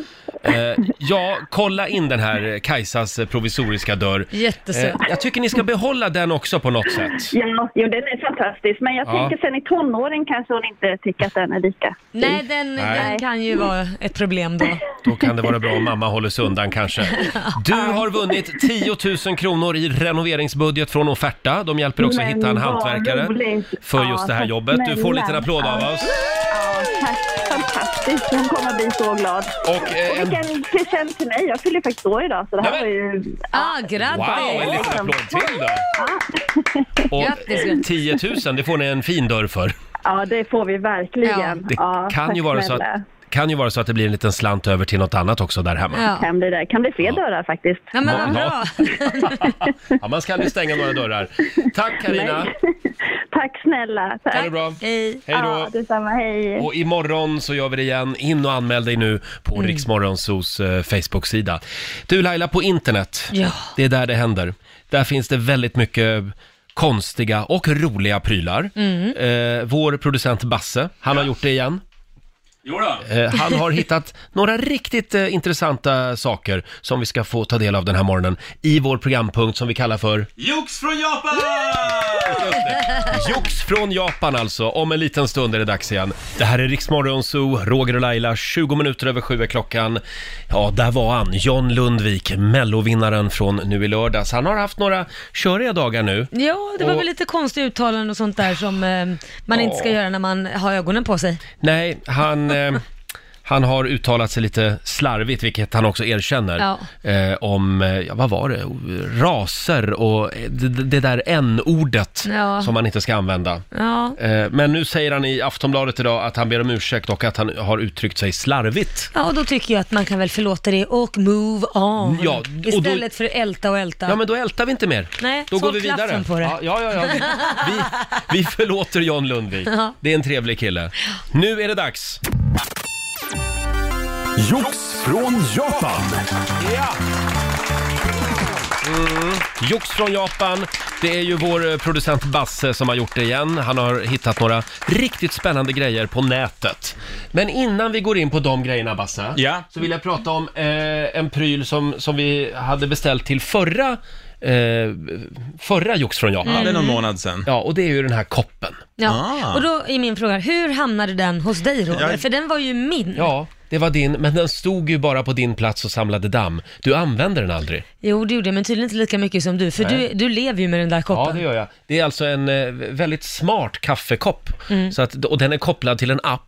Speaker 1: Eh, ja, kolla in den här Kajsas provisoriska dörr. Eh,
Speaker 2: Jättesöt.
Speaker 1: jag tycker ni ska behålla den också på något sätt.
Speaker 7: Ja, jo, den är fantastisk. Men jag
Speaker 1: Ja.
Speaker 7: tänker sen i tonåren kanske hon inte tycker att den är lika.
Speaker 2: Nej, den, den kan ju vara ett problem då.
Speaker 1: Då kan det vara bra om mamma håller sig undan kanske. Du har vunnit 10 000 kronor i renoveringsbudget från Offerta. De hjälper också att
Speaker 7: Men
Speaker 1: hitta en
Speaker 7: vad
Speaker 1: hantverkare
Speaker 7: roligt.
Speaker 1: för
Speaker 7: Ja,
Speaker 1: just det här
Speaker 7: tack
Speaker 1: jobbet. Du får en liten
Speaker 7: snälla.
Speaker 1: applåd av oss.
Speaker 7: Ja, tack. Fantastiskt. Hon kommer bli så glad.
Speaker 1: Och, eh,
Speaker 7: Och vilken present till mig. Jag fyller faktiskt år idag, så det här
Speaker 1: Nej,
Speaker 7: var ju...
Speaker 2: Ah, grattis.
Speaker 1: Wow, en liten applåd till då! Och
Speaker 2: Grattis.
Speaker 1: 10 000, det får ni en fin dörr för.
Speaker 7: Ja, det får vi verkligen.
Speaker 2: Ja.
Speaker 7: Ja.
Speaker 1: Det kan,
Speaker 7: tack
Speaker 1: ju vara så att,
Speaker 7: snälla.
Speaker 1: kan ju vara så att det blir en liten slant över till något annat också där hemma. Ja.
Speaker 2: Ja.
Speaker 7: Kan bli, det. kan bli fler dörrar faktiskt.
Speaker 2: Ja, men vad bra.
Speaker 1: man ska aldrig stänga några dörrar. Tack Karina.
Speaker 7: Nej. Tack snälla. Tack.
Speaker 1: Ha det bra.
Speaker 2: Hej.
Speaker 1: Hej
Speaker 7: Ja,
Speaker 1: då.
Speaker 7: detsamma. Hej.
Speaker 1: Och imorgon så gör vi det igen. In och anmäl dig nu på mm. Riksmorgonsos eh, Facebook-sida. Du Laila, på internet,
Speaker 2: Ja.
Speaker 1: det är där det händer. Där finns det väldigt mycket konstiga och roliga prylar. Eh, vår producent Basse, han har gjort det igen.
Speaker 5: Jo då.
Speaker 1: Eh, han har hittat några riktigt eh, intressanta saker som vi ska få ta del av den här morgonen i vår programpunkt som vi kallar för
Speaker 5: Jox från Japan!
Speaker 1: Jox från Japan alltså. Om en liten stund är det dags igen. Det här är Riksmorgon Zoo, Roger och Laila, 20 minuter över sju är klockan. Ja, där var han, John Lundvik, mellovinnaren från nu i lördags. Han har haft några köriga dagar nu.
Speaker 2: Ja, det var
Speaker 1: Och-
Speaker 2: väl lite konstiga uttalanden och sånt där som eh, man inte ska
Speaker 1: Ja.
Speaker 2: göra när man har ögonen på sig.
Speaker 1: Nej, han... Eh, Han har uttalat sig lite slarvigt, vilket han också erkänner,
Speaker 2: Ja.
Speaker 1: eh, om, eh, ja, vad var det, raser och det, det där n-ordet
Speaker 2: Ja.
Speaker 1: som man inte ska använda.
Speaker 2: Ja,
Speaker 1: Eh, Men nu säger han i Aftonbladet idag att han ber om ursäkt och att han har uttryckt sig slarvigt.
Speaker 2: ja och då tycker jag att man kan väl förlåta det och move on.
Speaker 1: Ja, och då-
Speaker 2: Istället för älta och älta.
Speaker 1: Ja, men då ältar vi inte mer.
Speaker 2: Nej,
Speaker 1: då
Speaker 2: så
Speaker 1: går vi
Speaker 2: klaffen
Speaker 1: vidare.
Speaker 2: på det.
Speaker 1: Ja, ja, ja, ja. Vi, vi, vi förlåter John Lundvik. Det är en trevlig kille. Nu är det dags.
Speaker 6: Jox från Japan.
Speaker 1: Mm. Jox från Japan. Det är ju vår eh, producent Basse som har gjort det igen. Han har hittat några riktigt spännande grejer på nätet. Men innan vi går in på de grejerna, Basse,
Speaker 5: Ja.
Speaker 1: så vill jag prata om eh, en pryl som, som vi hade beställt till förra, eh, förra Jox från Japan.
Speaker 5: Ja, det är Mm. någon månad sedan.
Speaker 1: Ja, och det är ju den här koppen.
Speaker 2: Ja.
Speaker 5: Ah.
Speaker 2: Och då är min fråga, hur hamnade den hos dig Roger?
Speaker 5: Jag-
Speaker 2: För den var ju min.
Speaker 1: Ja, det var din, men den stod ju bara på din plats och samlade damm. Du använder den aldrig.
Speaker 2: Jo, det gjorde jag, men tydligen inte lika mycket som du, för du, du lever ju med den där
Speaker 1: Ja,
Speaker 2: koppen.
Speaker 1: det gör jag. Det är alltså en eh, väldigt smart kaffekopp.
Speaker 2: Mm.
Speaker 1: Så att, och den är kopplad till en app.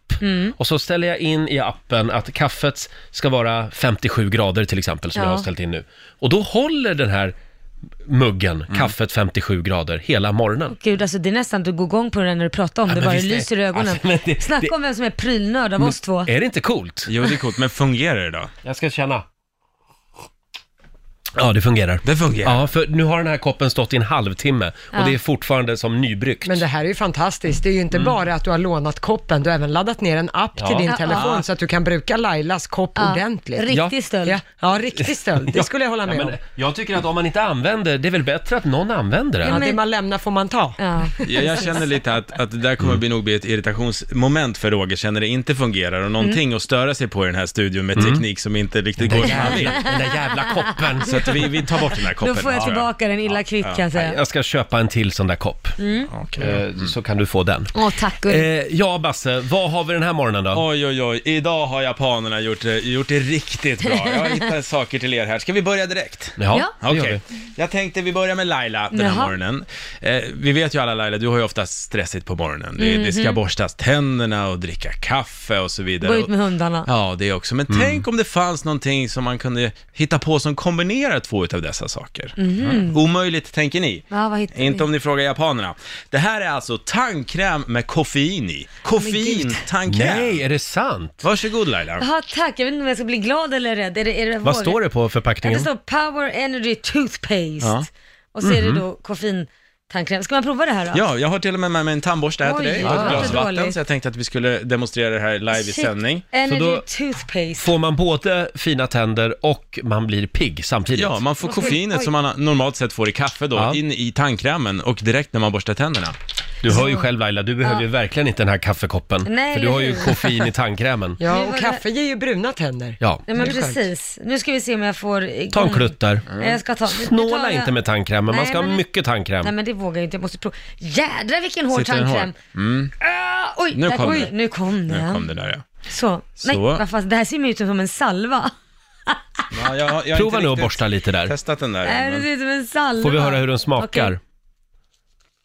Speaker 1: Och så ställer jag in i appen att kaffet ska vara 57 grader till exempel, som
Speaker 2: Ja.
Speaker 1: jag har ställt in nu. Och då håller den här muggen
Speaker 5: Mm.
Speaker 1: kaffet 57 grader hela morgonen.
Speaker 2: Gud, alltså det är nästan att du går igång på den när du pratar om det,
Speaker 1: men
Speaker 2: bara det
Speaker 1: visst är-
Speaker 2: lyser i ögonen.
Speaker 1: alltså, men det-
Speaker 2: Snacka
Speaker 1: det-
Speaker 2: om vem som är prylnörd av oss två.
Speaker 1: Är det inte coolt?
Speaker 5: Jo, det är coolt, men fungerar det då?
Speaker 1: Jag ska känna. Ja, det fungerar.
Speaker 5: Det fungerar.
Speaker 1: Ja, för nu har den här koppen stått i en halvtimme och
Speaker 2: Ja.
Speaker 1: det är fortfarande som nybryggt.
Speaker 3: Men det här är ju fantastiskt. Det är ju inte bara att du har lånat koppen, du har även laddat ner en app till din
Speaker 1: Mm. Ja.
Speaker 3: telefon så att du kan bruka Lailas kopp
Speaker 2: Ja.
Speaker 3: ordentligt.
Speaker 2: Riktig
Speaker 1: Ja.
Speaker 2: stöld.
Speaker 3: Ja, ja, riktig stöld. Det skulle jag hålla med
Speaker 1: ja,
Speaker 3: om.
Speaker 1: men jag tycker att om man inte använder, det är väl bättre att någon använder den?
Speaker 3: Ja,
Speaker 2: men-
Speaker 3: det man lämnar får man ta.
Speaker 2: Ja.
Speaker 5: Jag, jag känner lite att, att det där kommer
Speaker 1: Mm.
Speaker 5: bli nog bli ett irritationsmoment för Roger, känner det inte fungerar och någonting
Speaker 2: Mm.
Speaker 5: att störa sig på i den här studion med
Speaker 1: Mm.
Speaker 5: teknik som inte riktigt går som han vill.
Speaker 1: Den där jävla koppen!
Speaker 5: Så att vi, vi tar bort den här koppen.
Speaker 2: Då får jag
Speaker 5: tror
Speaker 2: tillbaka den illa kvickt kan jag säga. Mm.
Speaker 1: Jag ska köpa en till sån där kopp,
Speaker 5: Mm.
Speaker 1: Eh, så kan du få den.
Speaker 2: Åh, tack
Speaker 1: Eh,
Speaker 2: Ulf.
Speaker 1: ja, Basse, vad har vi den här morgonen då?
Speaker 5: Oj, oj, oj. Idag har japanerna gjort, det- gjort det riktigt bra. Jag har hittat saker till er här. Ska vi börja direkt?
Speaker 1: Ja,
Speaker 2: Ja.
Speaker 1: det
Speaker 5: Okej,
Speaker 1: gör vi.
Speaker 5: jag tänkte vi börjar med Laila den här
Speaker 2: Jaha.
Speaker 5: morgonen. Eh, vi vet ju alla Laila, du har ju oftast stressigt på morgonen. Det, det ska borstas tänderna och dricka kaffe och så vidare.
Speaker 2: Mm-hmm. Gå ut med hundarna.
Speaker 5: Ja, det också. Men
Speaker 1: Mm.
Speaker 5: tänk om det fanns någonting som man kunde hitta på som kombinerar två utav dessa saker.
Speaker 2: Mhm.
Speaker 5: Omöjligt, tänker ni.
Speaker 2: Ja, vad hittar vi?
Speaker 5: Inte om ni frågar japanerna. Det här är alltså tandkräm med koffein i. Koffein, tandkräm.
Speaker 1: Nej, är det sant?
Speaker 5: Varsågod Laila.
Speaker 2: Jaha, tack. Jag vet inte om jag ska bli glad eller rädd. Är det, är det
Speaker 1: Vad står det på
Speaker 2: Ja, det
Speaker 1: förpackningen?
Speaker 2: står Power Energy Toothpaste.
Speaker 5: Ja.
Speaker 2: Och så är det då koffeintandkräm. Ska man prova det här då?
Speaker 5: Ja, jag har till och med med mig en tandborste här till
Speaker 2: Oj,
Speaker 5: dig
Speaker 2: ja.
Speaker 5: och ett glas
Speaker 2: Inte
Speaker 5: vatten,
Speaker 2: dåligt.
Speaker 5: så jag tänkte att vi skulle demonstrera det Eh, här live i
Speaker 2: Shit.
Speaker 5: sändning.
Speaker 2: Energy
Speaker 1: Så då-
Speaker 2: Toothpaste.
Speaker 1: Får man både fina tänder och man blir pigg samtidigt?
Speaker 5: Ja, man får
Speaker 2: Vad kul.
Speaker 5: koffeinet
Speaker 2: Oj.
Speaker 5: som man normalt sett får i kaffe då,
Speaker 1: Ja.
Speaker 5: in i tandkrämen och direkt när man borstar tänderna.
Speaker 1: Du hör ju själv Laila, du behöver ju verkligen inte den här kaffekoppen.
Speaker 2: Nej,
Speaker 1: för du har ju
Speaker 2: eller hur?
Speaker 1: koffein i tandkrämen.
Speaker 3: Ja,
Speaker 2: Nu var
Speaker 3: och
Speaker 2: det-
Speaker 3: kaffe ger ju bruna tänder.
Speaker 1: Ja.
Speaker 2: Ja, men
Speaker 3: Det är skönt.
Speaker 2: precis. Nu ska vi se om jag får igång.
Speaker 1: Ta en klutt där.
Speaker 2: Nej, Jag ska ta. nu- nu tar
Speaker 1: Snåla
Speaker 2: jag-
Speaker 1: inte med tandkrämen, man
Speaker 2: Nej,
Speaker 1: ska ha
Speaker 2: men-
Speaker 1: mycket tandkräm.
Speaker 2: Nej men det vågar jag inte, jag måste prova. Jädrar vilken hård
Speaker 5: Sitter den hård? Mm.
Speaker 2: tandkräm! Ah, oj,
Speaker 5: Nu
Speaker 2: där
Speaker 5: kom
Speaker 2: oj,
Speaker 5: den.
Speaker 2: nu kom den.
Speaker 5: Nu kom det där ja.
Speaker 2: Så. Nej,
Speaker 5: Så.
Speaker 2: vad fan, det här ser ju ut som en salva.
Speaker 5: ja jag, jag har
Speaker 1: Prova
Speaker 5: inte
Speaker 1: nu att
Speaker 5: riktigt
Speaker 1: borsta lite där.
Speaker 5: testat den där.
Speaker 2: Nej, det
Speaker 5: men-
Speaker 2: ser ut som en salva.
Speaker 1: Får vi höra hur den smakar?
Speaker 2: Okej.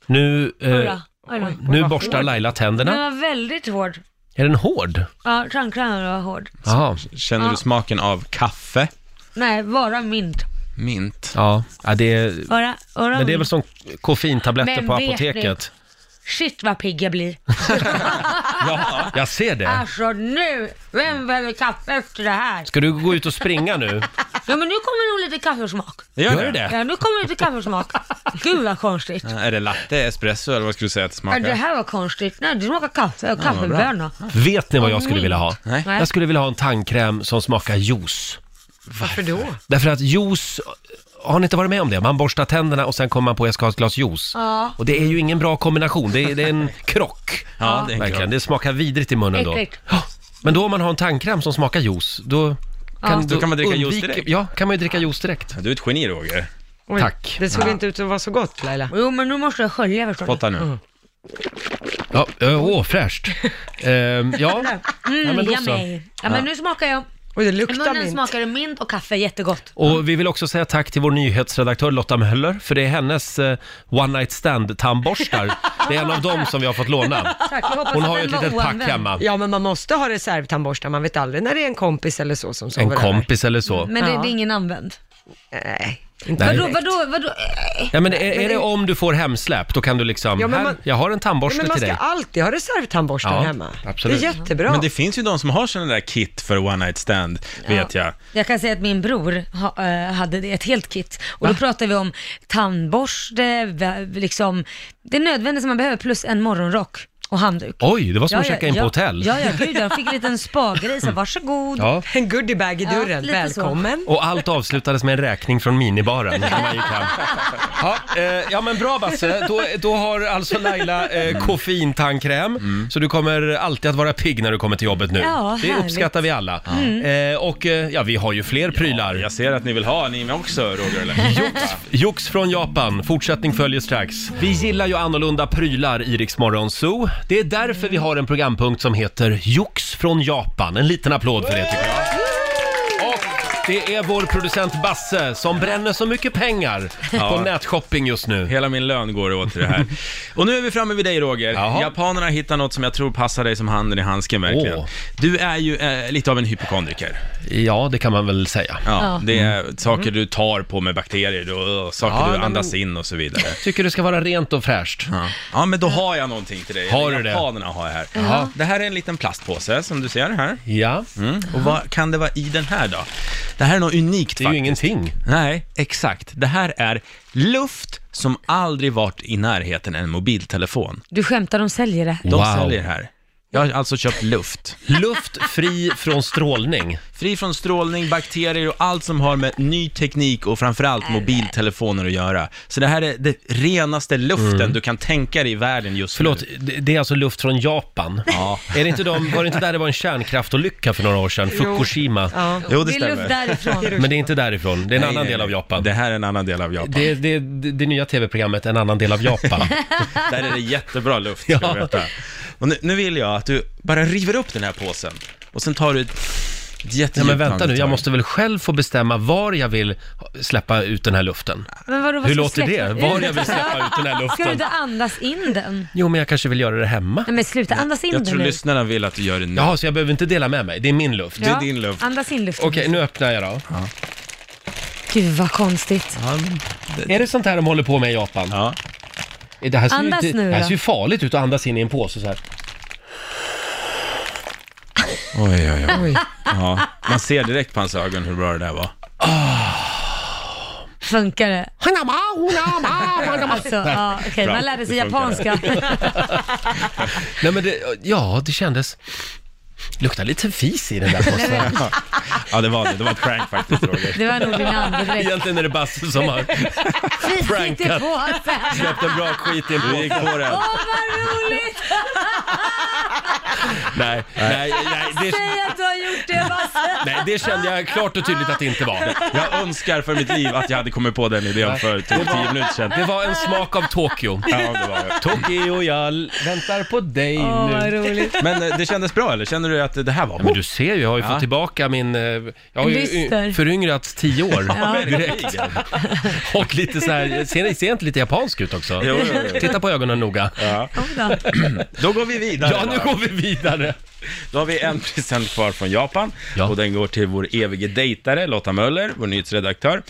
Speaker 1: Nu, eh,
Speaker 2: Oj då. Oj då.
Speaker 1: nu borstar Laila
Speaker 2: Den
Speaker 1: tänderna.
Speaker 2: var väldigt hård.
Speaker 1: Är den hård?
Speaker 2: Ja, tandkrämen var hård.
Speaker 1: Jaha.
Speaker 5: Känner du
Speaker 2: Ja.
Speaker 5: smaken av kaffe?
Speaker 2: Nej, bara mint.
Speaker 5: Mint.
Speaker 1: Ja, ja det är,
Speaker 2: Bara, bara
Speaker 1: men det är väl
Speaker 2: mint.
Speaker 1: som koffeintabletter
Speaker 2: Men
Speaker 1: på
Speaker 2: vet
Speaker 1: apoteket.
Speaker 2: Shit vad pigg jag blir.
Speaker 1: Ja, jag
Speaker 2: Ah.
Speaker 1: ser det.
Speaker 2: Alltså nu, vem behöver kaffe efter det här?
Speaker 1: Ska du gå ut och springa nu?
Speaker 2: Ja men nu kommer nog lite kaffesmak.
Speaker 5: Gör
Speaker 1: Gör det?
Speaker 2: Ja, nu kommer lite kaffesmak. Gud vad konstigt.
Speaker 5: Ja, Eh, Är det latte, espresso eller vad skulle du säga att det
Speaker 2: Ja, det
Speaker 5: smakar?
Speaker 2: här var konstigt. Nej, det smakar kaffe och kaffebönor.
Speaker 1: Vet ni vad jag
Speaker 2: Mm.
Speaker 1: skulle vilja ha?
Speaker 5: Nej.
Speaker 1: Jag skulle vilja ha en tandkräm som smakar juice.
Speaker 3: Varför då?
Speaker 1: Därför att juice, har ni inte varit med om det? Man borstar tänderna och sen kommer man på jag ska ha ett glas juice.
Speaker 2: Ja.
Speaker 1: Och det är ju ingen bra kombination, det är, det är en krock.
Speaker 5: Ja, det är en
Speaker 1: Verkligen,
Speaker 5: kropp.
Speaker 1: det smakar vidrigt i munnen då.
Speaker 2: Äckligt.
Speaker 1: Ja, Men då om man har en tandkräm som smakar juice, då kan,
Speaker 5: Då kan man dricka juice direkt.
Speaker 1: Ja, kan man ju dricka juice direkt.
Speaker 5: Du är ett geni Roger.
Speaker 3: Oj,
Speaker 1: Tack.
Speaker 3: Det såg inte ut att vara så gott Laila.
Speaker 2: Jo men nu måste jag skölja förstår du. Mm,
Speaker 5: Spotta nu.
Speaker 1: Ja, ö, åh, fräscht. Ehm, ja. ja,
Speaker 2: Mm,
Speaker 1: men då
Speaker 2: yummy.
Speaker 1: så.
Speaker 2: Ja men nu smakar jag.
Speaker 3: Oj, det
Speaker 2: I
Speaker 3: luktar
Speaker 2: munnen
Speaker 3: mint.
Speaker 2: smakar det mint och kaffe, jättegott.
Speaker 1: Och vi vill också säga tack till vår nyhetsredaktör Lotta Möller, för det är hennes eh, one night stand tandborstar. Det är en av dem som vi har fått låna.
Speaker 3: Tack, jag hoppas
Speaker 1: Hon
Speaker 3: att-
Speaker 1: har ju ett
Speaker 2: den var
Speaker 1: litet pack
Speaker 2: oanvänd.
Speaker 1: hemma.
Speaker 3: Ja, men man måste ha reservtandborstar. Man vet aldrig när det är en kompis eller så som sover
Speaker 1: En
Speaker 3: över.
Speaker 1: kompis eller så.
Speaker 2: Men det,
Speaker 3: Ja.
Speaker 2: det är ingen använd.
Speaker 3: Nej, inte
Speaker 1: alltså. Nej.
Speaker 2: Vadå,
Speaker 3: direkt.
Speaker 2: vadå, vadå? Äh,
Speaker 1: Ja, men är, är det om du får hemsläpp, då kan du liksom,
Speaker 3: Ja, men
Speaker 1: här,
Speaker 3: man-
Speaker 1: jag har en
Speaker 3: Nej,
Speaker 1: tandborste
Speaker 3: men man
Speaker 1: till
Speaker 3: ska
Speaker 1: dig.
Speaker 3: alltid ha reservtandborstar
Speaker 1: Ja,
Speaker 3: hemma.
Speaker 1: absolut.
Speaker 3: Det är jättebra.
Speaker 5: Men det finns ju de som har sådana där kit för one night stand, vet jag.
Speaker 2: Jag kan säga att min bror ha, eh, hade det, ett helt kit. Och då pratade vi om tandborste, vä- liksom, det nödvändiga som man behöver plus en morgonrock och handduk.
Speaker 1: Oj, det var som att checka in
Speaker 2: ja,
Speaker 1: på hotell. Mm.
Speaker 2: Ja, ja, gud, jag fick en liten spa-grej, så varsågod.
Speaker 1: Ja.
Speaker 3: En goodiebag i
Speaker 2: Ja,
Speaker 3: dörren.
Speaker 2: lite så.
Speaker 3: Välkommen.
Speaker 1: Och allt avslutades med en räkning från minibaren när man gick hem. Ja, eh, ja men bra Basse, då, då har alltså Laila
Speaker 5: Mm.
Speaker 1: eh, koffeintandkräm, så du kommer alltid att vara pigg när du kommer till jobbet nu.
Speaker 2: Ja,
Speaker 1: det
Speaker 2: härligt.
Speaker 1: uppskattar vi alla. Eh, och eh, ja, vi har ju fler prylar.
Speaker 5: Jag ser att ni vill ha, ni med också Roger eller?
Speaker 1: Jox från Japan, fortsättning följer strax. Vi gillar ju annorlunda prylar i Rix Morgon Zoo. Det är därför vi har en programpunkt som heter Jox från Japan. En liten applåd för det tycker jag. Och Det är vår producent Basse som bränner så mycket pengar på
Speaker 5: Ja.
Speaker 1: nätshopping just nu.
Speaker 5: Hela min lön går åt till det här. Och nu är vi framme vid dig Roger.
Speaker 1: Jaha.
Speaker 5: Japanerna hittar något som jag tror passar dig som handen i handsken verkligen.
Speaker 1: Åh.
Speaker 5: Du är ju eh, lite av en hypokondriker.
Speaker 1: Ja, det kan man väl säga. Mm.
Speaker 5: Ja, Det är saker du tar på med bakterier och, och saker
Speaker 1: Ja,
Speaker 5: du
Speaker 1: men-
Speaker 5: andas in och så vidare.
Speaker 1: Tycker det ska vara rent och fräscht.
Speaker 5: Ja. ja, men då har jag någonting till dig.
Speaker 1: Har du det?
Speaker 5: Japanerna har jag här. Det här är en liten plastpåse som du ser här. Mm.
Speaker 1: Ja,
Speaker 5: Och vad kan det vara i den här då? Det här är något unikt
Speaker 1: det är ju
Speaker 5: faktiskt.
Speaker 1: ingenting.
Speaker 5: Nej, exakt. Det här är luft som aldrig varit i närheten en mobiltelefon.
Speaker 2: Du skämtar, de säljer det här.
Speaker 5: De
Speaker 1: Wow.
Speaker 5: säljer det här. Jag har alltså köpt luft.
Speaker 1: Luft fri från strålning.
Speaker 5: Fri från strålning, bakterier och allt som har med ny teknik och framförallt mobiltelefoner att göra. Så det här är det renaste luften du kan tänka dig i världen just
Speaker 1: Mm. Förlåt,
Speaker 5: nu.
Speaker 1: det det är alltså luft från Japan.
Speaker 5: Ja.
Speaker 1: Är det inte de, var det inte där det var en kärnkraftolycka för några år sedan? Fukushima.
Speaker 3: Ja.
Speaker 5: Jo, det
Speaker 2: är luft
Speaker 5: stämmer.
Speaker 2: därifrån.
Speaker 1: Men det är inte därifrån, det är en
Speaker 5: Nej,
Speaker 1: annan
Speaker 5: nej,
Speaker 1: del av
Speaker 5: nej.
Speaker 1: Japan.
Speaker 5: Det
Speaker 1: Det,
Speaker 5: här är en annan del av Japan.
Speaker 1: det, det, det nya tv-programmet En annan del av Japan.
Speaker 5: Där är det jättebra luft, ska
Speaker 1: Ja.
Speaker 5: du veta. Och nu, nu vill jag att du bara river upp den här påsen och sen tar du ett, ett
Speaker 1: Nej
Speaker 5: jättedjupt
Speaker 1: men vänta nu, jag
Speaker 5: andetag.
Speaker 1: måste väl själv få bestämma var jag vill släppa ut den här luften?
Speaker 2: Men vadå, vad ska
Speaker 1: Hur
Speaker 2: du
Speaker 1: låter det?
Speaker 2: släppa-
Speaker 1: Var jag vill släppa ut den här
Speaker 2: Ska du
Speaker 1: luften?
Speaker 2: inte andas in den?
Speaker 1: Jo men jag kanske vill göra det hemma.
Speaker 2: Nej men sluta, andas in
Speaker 5: Jag
Speaker 2: den
Speaker 5: tror
Speaker 2: nu.
Speaker 5: lyssnarna vill att du gör det nu.
Speaker 1: Jaha, så jag behöver inte dela med mig, det är min luft.
Speaker 5: det är din luft.
Speaker 2: Andas in luften.
Speaker 1: Okej, nu öppnar jag då.
Speaker 2: Gud vad konstigt.
Speaker 1: Är det sånt här de håller på med i Japan?
Speaker 5: Ja.
Speaker 1: Det här ser,
Speaker 2: Andas
Speaker 1: ju, inte-
Speaker 2: nu
Speaker 1: det här
Speaker 2: då.
Speaker 1: ser ju farligt ut att andas in i en påse så här.
Speaker 5: Oj, oj, oj. Ja. Man ser direkt på hans ögon hur bra det där var.
Speaker 2: Funkar det? Alltså, ja, okej,
Speaker 5: Bra,
Speaker 2: man lärde sig
Speaker 5: det funkar.
Speaker 2: japanska.
Speaker 1: Nej men det, ja det kändes... Luktar lite fis i den där påsen.
Speaker 5: Ja, det var det. Det var ett prank faktiskt, Roger.
Speaker 2: Det var nog din andedräkt.
Speaker 1: Egentligen är det Basse som har
Speaker 2: Fis inte
Speaker 1: Prankat.
Speaker 2: på sen.
Speaker 1: släppt en bra skit i en
Speaker 5: Du gick
Speaker 1: påse.
Speaker 5: på den.
Speaker 2: Åh vad roligt!
Speaker 1: Nej, nej, nej, det,
Speaker 2: Säg att du har gjort det Basse!
Speaker 1: nej, det kände jag klart och tydligt att det inte var.
Speaker 5: Jag önskar för mitt liv att jag hade kommit på den idén för typ tio minuter sedan.
Speaker 1: Det var en smak av Tokyo.
Speaker 5: Ja, det var det.
Speaker 1: Tokyo, jag l- väntar på dig
Speaker 2: Åh vad
Speaker 1: nu.
Speaker 2: roligt.
Speaker 5: Men eh, det kändes bra, eller? Känner du att det här var...
Speaker 1: Men du ser ju, jag har ju
Speaker 5: Ja.
Speaker 1: fått tillbaka min... eh, Jag har ju
Speaker 2: Lyster.
Speaker 1: y- föryngrats tio år direkt.
Speaker 5: Verkligen.
Speaker 1: Och lite så här, ser, ser inte lite japansk ut också?
Speaker 5: Jo, jo, jo.
Speaker 1: Titta på ögonen noga.
Speaker 5: Ja.
Speaker 2: Oj då.
Speaker 5: Då går vi vidare.
Speaker 1: Ja, nu
Speaker 5: då.
Speaker 1: går vi vidare.
Speaker 5: Då har vi en present kvar från Japan
Speaker 1: Ja.
Speaker 5: och den går till vår evige dejtare Lotta Möller, vår nyhetsredaktör.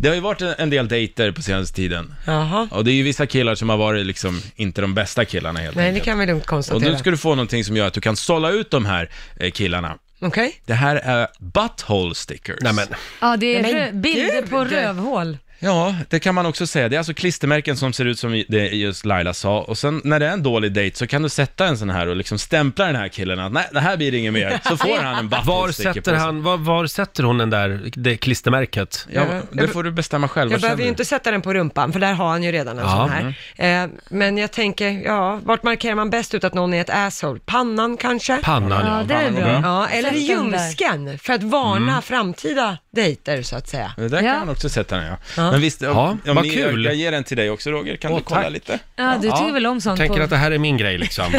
Speaker 5: Det har ju varit en- en del dejter på senaste tiden.
Speaker 3: Jaha.
Speaker 5: Och det är ju vissa killar som har varit liksom inte de bästa killarna helt
Speaker 3: Nej, det
Speaker 5: enkelt.
Speaker 3: kan vi lugnt
Speaker 5: Och
Speaker 3: konstatera.
Speaker 5: nu ska du få någonting som gör att du kan sålla ut de här eh, killarna.
Speaker 3: Okej?
Speaker 5: Det här är butthole stickers.
Speaker 1: Nej, men.
Speaker 2: Ja, det är
Speaker 3: Nej, men
Speaker 2: rö- bilder
Speaker 3: gud.
Speaker 2: på rövhål.
Speaker 5: Ja, det kan man också säga. Det är alltså klistermärken som ser ut som det just Laila sa. Och sen när det är en dålig dejt så kan du sätta en sån här och liksom stämpla den här killen att nej, det här blir inget mer. Så får han en
Speaker 1: Var
Speaker 5: butthole sticker på
Speaker 1: sätter,
Speaker 5: sig.
Speaker 1: han, var, var sätter hon den där, det klistermärket?
Speaker 5: Ja, det får du bestämma själv.
Speaker 3: Jag
Speaker 5: Vad
Speaker 3: behöver
Speaker 5: känner
Speaker 3: ju
Speaker 5: du?
Speaker 3: inte sätta den på rumpan, för där har han ju redan en
Speaker 1: Ja.
Speaker 3: sån här. Eh, men jag tänker, ja, vart markerar man bäst ut att någon är ett asshole? Pannan kanske?
Speaker 1: Pannan, ja.
Speaker 2: Ja, det är
Speaker 5: fan, vad
Speaker 2: bra.
Speaker 5: bra.
Speaker 3: ja, eller i
Speaker 2: Sätt den där.
Speaker 3: ljumsken, för att varna framtida dejter så att säga.
Speaker 5: Det där
Speaker 2: Ja.
Speaker 5: kan man också sätta den, ja. Men visst, om,
Speaker 1: Ja,
Speaker 5: om
Speaker 1: vad
Speaker 5: ni,
Speaker 1: kul.
Speaker 5: Jag, jag ger den till dig också, Roger. Kan
Speaker 1: Åh,
Speaker 5: du kolla
Speaker 1: tack.
Speaker 5: lite?
Speaker 2: Ja, du tycker väl om sånt?
Speaker 1: Tänker
Speaker 2: på-
Speaker 1: att det här är min grej liksom.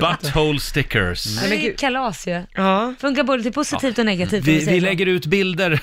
Speaker 1: Butthole stickers.
Speaker 2: Ja, det är ju kalas ju.
Speaker 3: Ja,
Speaker 2: Funkar både till positivt och negativt. om
Speaker 1: Vi,
Speaker 2: säger
Speaker 1: vi
Speaker 2: så.
Speaker 1: lägger ut bilder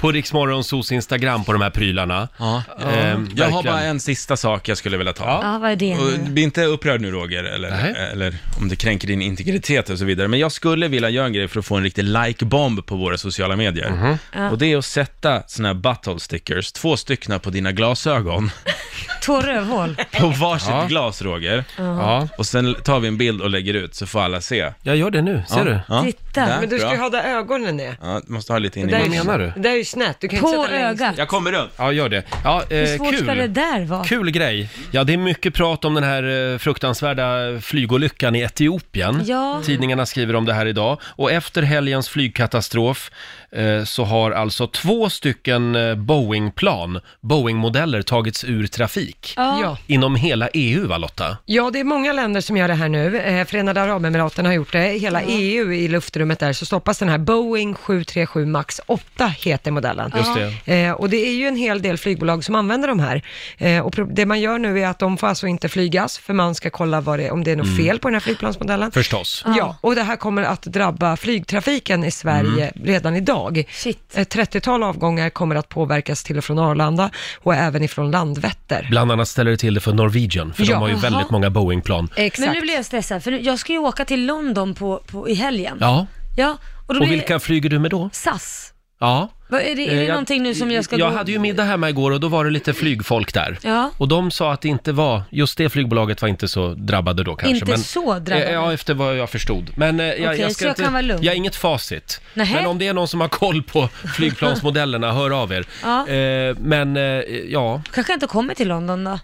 Speaker 1: på Riksmorgonsos Instagram på de här prylarna.
Speaker 5: Ja. Jag
Speaker 1: Ehm,
Speaker 5: har
Speaker 1: verkligen.
Speaker 5: bara en sista sak jag skulle vilja ta.
Speaker 2: Ja, vad är det nu?
Speaker 5: Och bli inte upprörd nu Roger,
Speaker 1: Nej.
Speaker 5: eller, eller om det kränker din integritet och så vidare. Men jag skulle vilja göra en grej för att få en riktig like-bomb på våra sociala medier.
Speaker 1: Mhm.
Speaker 2: Ja.
Speaker 5: Och det är att sätta såna här butthole stickers, två stycken på dina glasögon,
Speaker 2: Två rövhål.
Speaker 5: på varsitt
Speaker 1: Ja.
Speaker 5: glas Roger.
Speaker 1: Ja,
Speaker 5: Och sen tar vi en bild och lägger ut så får alla se.
Speaker 1: jag gör det nu. Ser
Speaker 5: Ja.
Speaker 1: du?
Speaker 5: Ja.
Speaker 2: Titta.
Speaker 5: Där,
Speaker 3: men du ska ju
Speaker 5: bra.
Speaker 3: ha där ögonen är.
Speaker 5: Ja, du måste ha lite in i
Speaker 3: Det där är
Speaker 1: vad
Speaker 5: munnen.
Speaker 3: ju-
Speaker 1: menar du?
Speaker 3: Det där är ju snett, du kan inte
Speaker 2: På
Speaker 3: sätta längst.
Speaker 2: ögat.
Speaker 5: Jag kommer upp.
Speaker 1: Ja, gör det. Ja,
Speaker 2: Hur
Speaker 1: eh,
Speaker 2: svårt ska det
Speaker 1: kul.
Speaker 2: där vara?
Speaker 1: Kul grej. Ja, det är mycket prat om den här eh, fruktansvärda flygolyckan i Etiopien.
Speaker 2: Ja.
Speaker 1: Tidningarna skriver om det här idag. Och efter helgens flygkatastrof eh, så har alltså två stycken eh, Boeing-plan, Boeing-modeller, tagits ur trafik.
Speaker 3: Ja.
Speaker 1: Inom hela E EU, va Lotta?
Speaker 3: Ja, det är många länder som gör det här nu. Eh, Förenade Arabemiraten har gjort det. Hela EU i luftrummet där så stoppas den här Boeing 737 Max 8 heter modellen.
Speaker 1: Just det.
Speaker 3: Eh, och det är ju en hel del flygbolag som använder de här. Eh, och pro- det man gör nu är att de får alltså inte flygas, för man ska kolla vad det, om det är något fel på den här flygplansmodellen.
Speaker 1: Mm. Förstås.
Speaker 3: Ja, och det här kommer att drabba flygtrafiken i Sverige
Speaker 1: Mm.
Speaker 3: redan idag.
Speaker 2: Shit.
Speaker 3: Ett 30-tal avgångar kommer att påverkas till och från Arlanda och även ifrån Landvetter.
Speaker 1: Bland annat ställer det till det för Norwegian, för
Speaker 3: Ja.
Speaker 1: de har ju
Speaker 2: Jaha. Eh.
Speaker 1: väldigt många Boeing-plan.
Speaker 3: Exakt.
Speaker 2: Men nu blir jag stressad, för nu, jag ska ju åka till London på, på, i helgen.
Speaker 1: Ja,
Speaker 2: Ja, och då
Speaker 1: och
Speaker 2: blir
Speaker 1: vilka flyger du med då?
Speaker 2: SAS.
Speaker 1: Ja.
Speaker 2: Vad är det, är det
Speaker 1: Eh, jag-
Speaker 2: någonting nu som jag ska
Speaker 1: Jag
Speaker 2: gå...
Speaker 1: hade ju middag hemma igår och då var det lite flygfolk där.
Speaker 2: Ja.
Speaker 1: Och de sa att det inte var, just det flygbolaget var inte så drabbade då kanske.
Speaker 2: Inte så drabbade?
Speaker 1: Eh, Ja, efter vad jag förstod. Men eh, jag,
Speaker 2: Okej,
Speaker 1: jag
Speaker 2: så jag kan vara lugn.
Speaker 1: Jag har inget facit.
Speaker 2: Nähä.
Speaker 1: Men om det är någon som har koll på flygplansmodellerna, hör av er.
Speaker 2: Ja.
Speaker 1: Eh, men eh, ja,
Speaker 2: Kanske jag inte kommer till London då?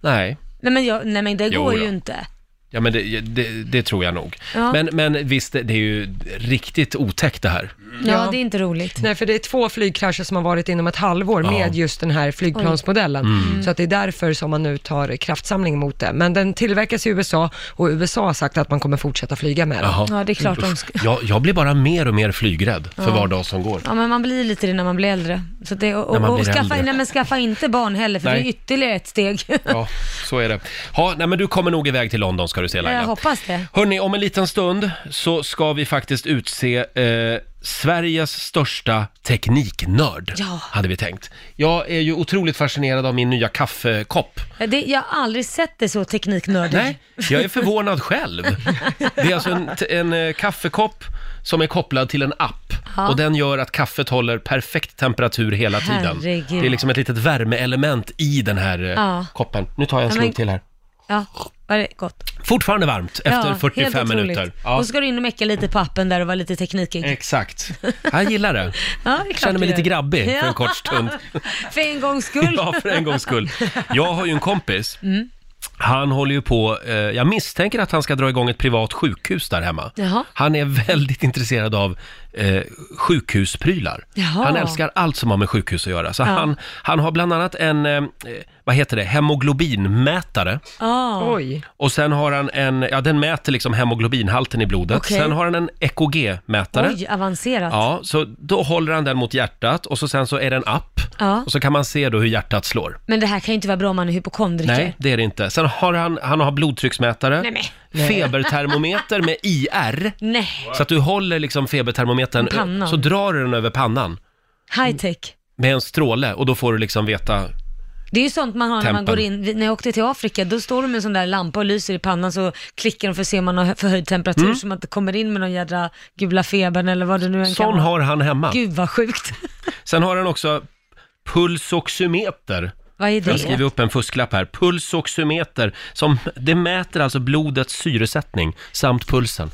Speaker 1: nej.
Speaker 2: Nej men, jag, nej, men det
Speaker 1: Jo
Speaker 2: går
Speaker 1: då.
Speaker 2: ju inte.
Speaker 1: Ja, men det, det, det tror jag nog.
Speaker 2: Ja.
Speaker 1: Men, men visst, det det är ju riktigt otäckt det här.
Speaker 2: Ja,
Speaker 3: Ja.
Speaker 2: det är inte roligt.
Speaker 3: Nej, för det är två flygkrascher som har varit inom ett halvår med just den här flygplansmodellen.
Speaker 1: Mm.
Speaker 3: Så att det är därför som man nu tar kraftsamling mot det. Men den tillverkas i USA och USA har sagt att man kommer fortsätta flyga med den.
Speaker 1: Jaha.
Speaker 2: Ja, det är klart de ska...
Speaker 1: Jag, jag blir bara mer och mer flygrädd för var dag som går.
Speaker 2: Ja, men man blir lite det när man blir äldre. Så det, och,
Speaker 1: När man
Speaker 2: och, och
Speaker 1: blir
Speaker 2: skaffa,
Speaker 1: äldre.
Speaker 2: nej, men skaffa inte barn heller, för
Speaker 1: Nej.
Speaker 2: det är ytterligare ett steg.
Speaker 1: Ja, så är det. Ha, nej, men du kommer nog iväg till London ska du se Laila.
Speaker 2: jag hoppas det.
Speaker 1: Hörni, om en liten stund så ska vi faktiskt utse eh, Sveriges största tekniknörd,
Speaker 2: Ja.
Speaker 1: hade vi tänkt. Jag är ju otroligt fascinerad av min nya kaffekopp.
Speaker 2: det. Jag har aldrig sett det så tekniknördigt.
Speaker 1: Nej, jag är förvånad själv. Det är alltså en, en eh, kaffekopp som är kopplad till en app
Speaker 2: Ja.
Speaker 1: och den gör att kaffet håller perfekt temperatur hela tiden.
Speaker 2: Herregud.
Speaker 1: Det är liksom ett litet värmeelement i den här eh,
Speaker 2: Ja.
Speaker 1: koppen. Nu tar jag en
Speaker 2: Ja,
Speaker 1: slurk
Speaker 2: men-
Speaker 1: till här.
Speaker 2: Ja, var det gott?
Speaker 1: Fortfarande varmt efter
Speaker 2: ja,
Speaker 1: 45
Speaker 2: helt otroligt.
Speaker 1: minuter.
Speaker 2: Och så ska du in och mecka lite på appen där och vara lite teknikig.
Speaker 1: Exakt. Jag gillar det.
Speaker 2: Ja, det är klart
Speaker 1: Känner mig
Speaker 2: du
Speaker 1: lite
Speaker 2: gör.
Speaker 1: grabbig för en
Speaker 2: Ja.
Speaker 1: kort stund.
Speaker 2: För en gångs skull. Mm.
Speaker 1: Ja, för en gångs skull. Jag har ju en kompis. Han håller ju på, eh, jag misstänker att han ska dra igång ett privat sjukhus där hemma.
Speaker 2: Jaha.
Speaker 1: Han är väldigt intresserad av eh, sjukhusprylar.
Speaker 2: Jaha.
Speaker 1: Han älskar allt som har med sjukhus att göra. Så han, han har bland annat en, eh, vad heter det, hemoglobinmätare.
Speaker 2: Ja.
Speaker 3: Oj.
Speaker 1: Och sen har han en, ja den mäter liksom hemoglobinhalten i blodet.
Speaker 2: Okej.
Speaker 1: Sen har han en EKG-mätare.
Speaker 2: Oj, avancerat.
Speaker 1: Ja, så då håller han den mot hjärtat och så sen så är det en app
Speaker 2: Ja.
Speaker 1: och så kan man se då hur hjärtat slår.
Speaker 2: Men det här kan ju inte vara bra om man är hypokondriker.
Speaker 1: Nej, det är det inte. Sen har han, han har blodtrycksmätare, febertermometer med IR.
Speaker 2: Nej,
Speaker 1: Så att du håller liksom febertermometern,
Speaker 2: Pannan.
Speaker 1: så drar du den över pannan
Speaker 2: high tech.
Speaker 1: med en stråle och då får du liksom veta.
Speaker 2: Det är ju sånt man har när man
Speaker 1: Tempen.
Speaker 2: går in, vi- när jag åkte till Afrika, då står de med en sån där lampa och lyser i pannan så klickar de för att se om man har hö- förhöjd temperatur
Speaker 1: Mm.
Speaker 2: så man inte kommer in med någon jädra gula febern eller vad det nu än
Speaker 1: Sån
Speaker 2: kan vara.
Speaker 1: har han hemma.
Speaker 2: Gud vad sjukt.
Speaker 1: Sen har han också pulsoximeter.
Speaker 2: vad är
Speaker 1: Jag
Speaker 2: det?
Speaker 1: skriver upp en fusklapp här. Pulsoximeter, som, det mäter alltså blodets syresättning samt pulsen.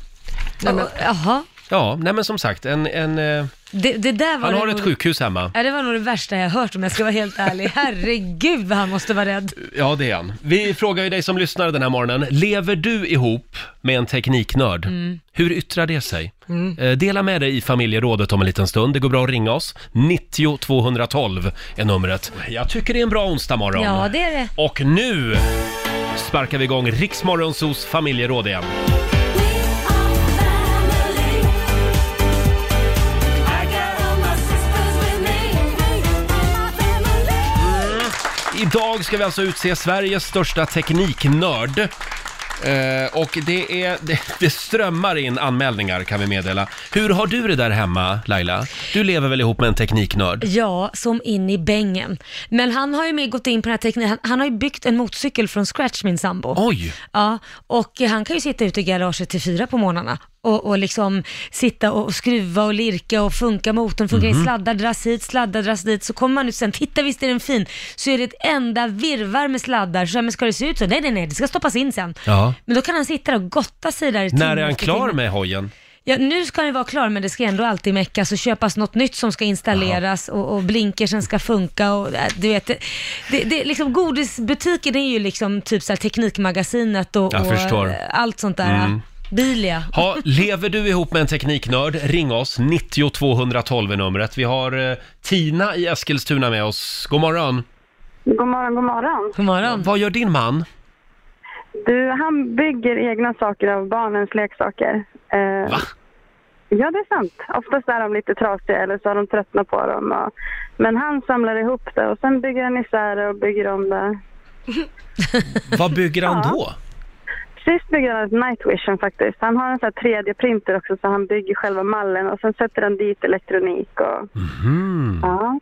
Speaker 3: Nej, men-
Speaker 2: Och- Jaha,
Speaker 1: Ja, nej men som sagt, en, en, eh,
Speaker 2: det, det där var
Speaker 1: han
Speaker 2: det
Speaker 1: har ett
Speaker 2: nog-
Speaker 1: sjukhus hemma.
Speaker 2: Ja, det var nog det värsta jag hört om jag ska vara helt ärlig. Herregud vad han måste vara rädd.
Speaker 1: Ja, det är han. Vi frågar ju dig som lyssnar den här morgonen, lever du ihop med en tekniknörd?
Speaker 2: Mm.
Speaker 1: Hur yttrar det sig? Eh, Dela med dig i familjerådet om en liten stund. Det går bra att ringa oss. 90 212 är numret. Jag tycker det är en bra onsdagmorgon.
Speaker 2: Ja, det är det.
Speaker 1: Och nu sparkar vi igång Riksmorgonsos familjeråd igen. Mm. Idag ska vi alltså utse Sveriges största tekniknörd. Eh, och det, är, det, det strömmar in anmälningar kan vi meddela. Hur har du det där hemma Laila? Du lever väl ihop med en tekniknörd?
Speaker 2: Ja, som in i bängen. Men han har ju med gått in på den här tekniken. Han, han har ju byggt en motorcykel från scratch, min sambo.
Speaker 1: Oj!
Speaker 2: Ja, och han kan ju sitta ute i garaget till fyra på morgnarna och, och liksom sitta och skruva och lirka och funka motorn, funkar
Speaker 1: Mhm.
Speaker 2: in sladdar, dras hit, sladdar, dras dit, så kommer man ut sen, titta visst är den fin, så är det ett enda virvar med sladdar, så ja, men ska det se ut så? Nej, nej, nej, det ska stoppas in sen.
Speaker 1: Ja.
Speaker 2: Men då kan han sitta där och gotta sig där i timme
Speaker 1: När är han
Speaker 2: efter
Speaker 1: klar
Speaker 2: timme.
Speaker 1: med hojen?
Speaker 2: Ja, nu ska den vara klar men det ska ändå alltid meckas och köpas något nytt som ska installeras och, och blinkersen ska funka och äh, du vet, det, det, det, liksom godisbutiken är ju liksom typ så här Teknikmagasinet och,
Speaker 1: Jag
Speaker 2: och
Speaker 1: förstår.
Speaker 2: äh, allt sånt där. Mm. Bilia.
Speaker 1: Ha, lever du ihop med en tekniknörd? Ring oss, 90 212 är numret. Vi har eh, Tina i Eskilstuna med oss. God morgon!
Speaker 8: God morgon, god morgon.
Speaker 2: God morgon.
Speaker 1: Vad gör din man?
Speaker 8: Du, han bygger egna saker av barnens leksaker. Eh,
Speaker 1: Va?
Speaker 8: ja, det är sant. Oftast är de lite trasiga eller så har de tröttnat på dem. Och, men han samlar ihop det och sen bygger han isär det och bygger om det.
Speaker 1: Vad bygger han
Speaker 8: Ja.
Speaker 1: då?
Speaker 8: Sist byggde han ett night vision faktiskt. Han har en sån här 3D-printer också så han bygger själva mallen och sen sätter han dit elektronik och... Ja.